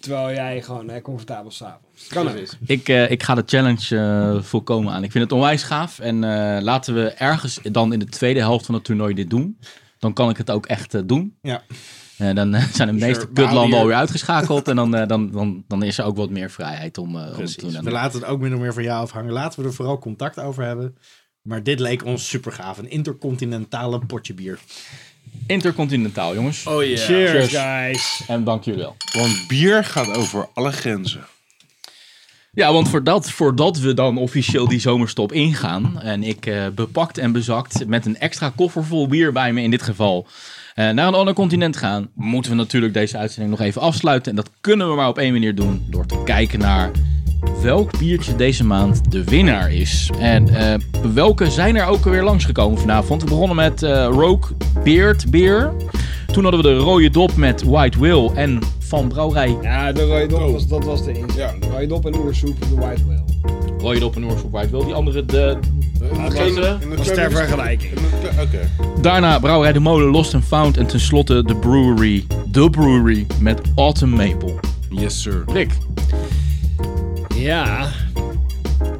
S2: Terwijl jij gewoon hè, comfortabel s'avonds. Kan ook.
S1: Ik, eh, ik ga de challenge eh, volkomen aan. Ik vind het onwijs gaaf. En eh, laten we ergens dan in de tweede helft van het toernooi dit doen. Dan kan ik het ook echt eh, doen.
S4: Ja.
S1: En dan eh, zijn de meeste
S4: Bali
S1: kutlanden
S4: hier.
S1: alweer uitgeschakeld. En dan, eh, dan, dan, dan is er ook wat meer vrijheid om, eh, om het te doen.
S4: Precies.
S1: En
S4: We laten het ook min of meer van jou afhangen. Laten we er vooral contact over hebben. Maar dit leek ons super gaaf. Een intercontinentale potje bier.
S1: Intercontinentaal, jongens.
S3: Oh ja.
S2: Cheers,
S1: Cheers.
S2: guys.
S1: En dank jullie wel.
S3: Want bier gaat over alle grenzen.
S1: Ja, want voordat, voordat we dan officieel die zomerstop ingaan. En ik eh, bepakt en bezakt met een extra koffer vol bier bij me in dit geval. eh, naar een ander continent gaan. Moeten we natuurlijk deze uitzending nog even afsluiten. En dat kunnen we maar op één manier doen. Door te kijken naar welk biertje deze maand de winnaar is. En eh, welke zijn er ook alweer langsgekomen vanavond. We begonnen met eh Rogue Beard Beer. Toen hadden we de rode dop met White Will en van Brouwerij
S2: Ja, de rode dop, was, dat was de inzet. De rode dop en oersoep, de white whale.
S1: Rode dop en Oorschop White Will. Die andere de,
S2: Dat is ter vergelijking.
S3: Oké.
S1: Daarna Brouwerij de Molen, Lost and Found. En tenslotte de Brewery, de Brewery met Autumn Maple.
S3: Yes, sir.
S1: Rick,
S2: Ja,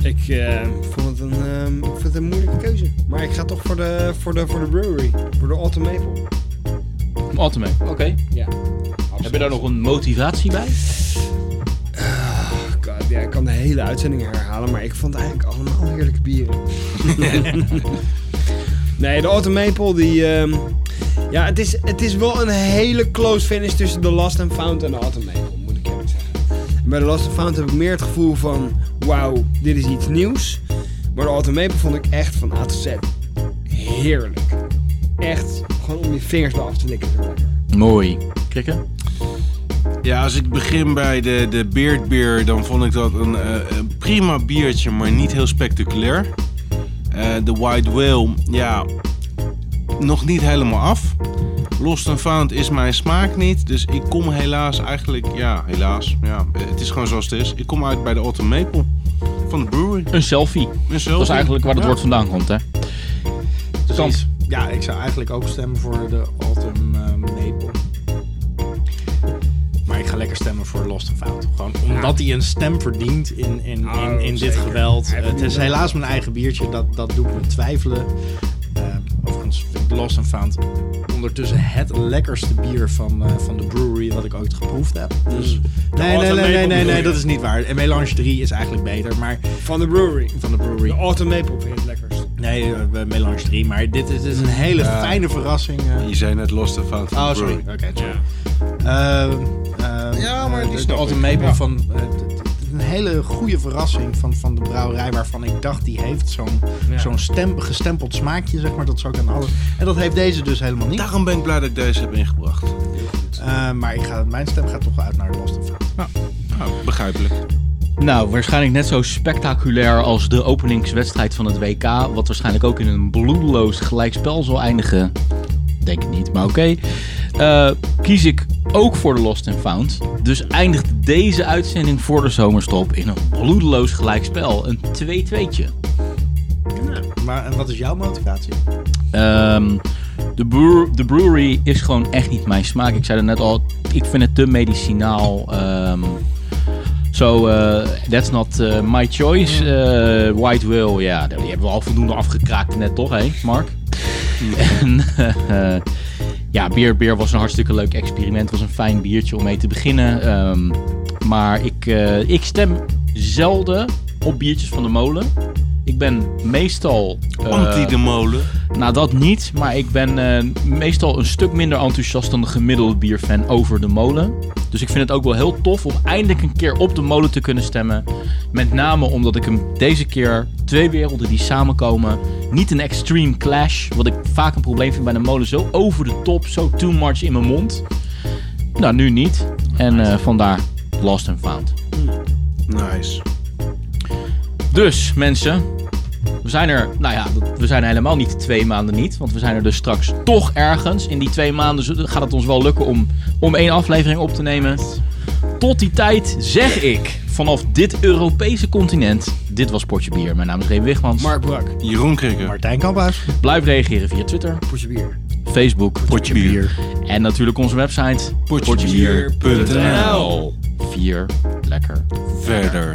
S2: ik eh, vond het een, ehm, ik vind het een moeilijke keuze. Maar ik ga toch voor de, voor de, voor de brewery. Voor de Autumn Maple.
S1: Autumn Maple. Oké.
S2: Ja.
S1: Heb je daar nog een motivatie bij?
S2: God, ja, ik kan de hele uitzending herhalen, maar ik vond eigenlijk allemaal heerlijke bieren. nee, de Autumn Maple, die... ehm, ja, het is, het is wel een hele close finish tussen de Last and Found en de Autumn Maple, moet ik eerlijk zeggen. En bij de Last and Found heb ik meer het gevoel van, wauw, dit is iets nieuws. Maar de Autumn Maple vond ik echt van A tot Z heerlijk. Echt, gewoon om je vingers bij af te likken. zo lekker.
S1: Mooi. Krikken?
S3: Ja, als ik begin bij de, de Beard Beer, dan vond ik dat een, eh, een prima biertje, maar niet heel spectaculair. Eh, De White Whale, ja, nog niet helemaal af. Lost and Found is mijn smaak niet, dus ik kom helaas eigenlijk, ja, helaas. Ja, eh, het is gewoon zoals het is. Ik kom uit bij de Autumn Maple van de brewery.
S1: Een selfie.
S3: Mezelf.
S1: Dat is eigenlijk waar het
S3: Ja.
S1: woord vandaan komt, hè? Kans.
S4: Ja, ik zou eigenlijk ook stemmen voor de Autumn eh, Maple. Maar ik ga lekker stemmen voor Lost and Found. Gewoon omdat hij een stem verdient in, in, in, in dit geweld. Eh, het is helaas mijn eigen biertje, dat, dat doet me twijfelen. Eh, overigens vind ik Lost and Found ondertussen het lekkerste bier van, eh, van de brewery wat ik ooit geproefd heb. Dus, nee, nee, nee, nee, nee, nee,
S2: bedoel je?
S4: dat is niet waar. En Melange 3 is eigenlijk beter, maar
S2: Van de brewery.
S4: van de brewery.
S2: De Autumn Maple vind ik het lekkerst.
S4: Nee, eh, Melange 3, maar dit is, dit is een hele fijne verrassing. eh.
S3: Je zei net Lost and Found van
S4: Oh,
S3: de
S4: sorry.
S3: brewery.
S4: Oké, sorry. Ehm, ehm,
S3: Ja, maar die
S4: eh, de- de
S3: snap
S4: Autumn
S3: ik.
S4: Maple
S3: Ja.
S4: van... eh, d- d- d- een hele goede verrassing van, van de brouwerij... waarvan ik dacht, die heeft zo'n zo'n stem, gestempeld smaakje, zeg maar. Dat zou ik aan alles... En dat heeft deze dus helemaal niet.
S3: Daarom ben ik blij dat ik deze heb ingebracht.
S4: Eh, maar ik ga, mijn stem gaat toch uit naar de Lost and Found.
S3: Nou, begrijpelijk.
S1: Nou, waarschijnlijk net zo spectaculair als de openingswedstrijd van het WK. Wat waarschijnlijk ook in een bloedeloos gelijkspel zal eindigen. Denk ik niet, maar oké. Eh, kies ik ook voor de Lost and Found. Dus eindigt deze uitzending voor de zomerstop in een bloedeloos gelijkspel. Een 2-2'tje.
S4: Maar en wat is jouw motivatie?
S1: Ehm, de, brew- de brewery is gewoon echt niet mijn smaak. Ik zei het net al, ik vind het te medicinaal. ehm, So, eh, that's not eh, my choice. Eh, White Will, ja, die hebben we al voldoende afgekraakt net toch, hè, Mark? En, eh, ja, Beer Beer was een hartstikke leuk experiment. Het was een fijn biertje om mee te beginnen. Ehm, maar ik, eh, ik stem zelden op biertjes van de molen. Ik ben meestal... eh,
S3: Anti de molen.
S1: nou, dat niet. Maar ik ben eh, meestal een stuk minder enthousiast dan de gemiddelde bierfan over de molen. Dus ik vind het ook wel heel tof om eindelijk een keer op de molen te kunnen stemmen. Met name omdat ik hem deze keer twee werelden die samenkomen. Niet een extreme clash. Wat ik vaak een probleem vind bij de molen. Zo over de top, zo too much in mijn mond. Nou, nu niet. En eh, vandaar Lost and Found.
S3: Nice.
S1: Dus mensen, we zijn er, nou ja, dat- we zijn er helemaal niet twee maanden niet. Want we zijn er dus straks toch ergens. In die twee maanden z- gaat het ons wel lukken om, om één aflevering op te nemen. Tot die tijd zeg ik, vanaf dit Europese continent, dit was Potje Bier. Mijn naam is Reem Wichmans. Maar
S2: Mark Brak,
S3: Jeroen Krikker.
S4: Martijn Kamphuis.
S1: blijf reageren via Twitter,
S2: potje bier.
S1: Facebook
S3: Potje bier.
S1: en natuurlijk onze website potjebier.nl. Vier lekker.
S3: Verder.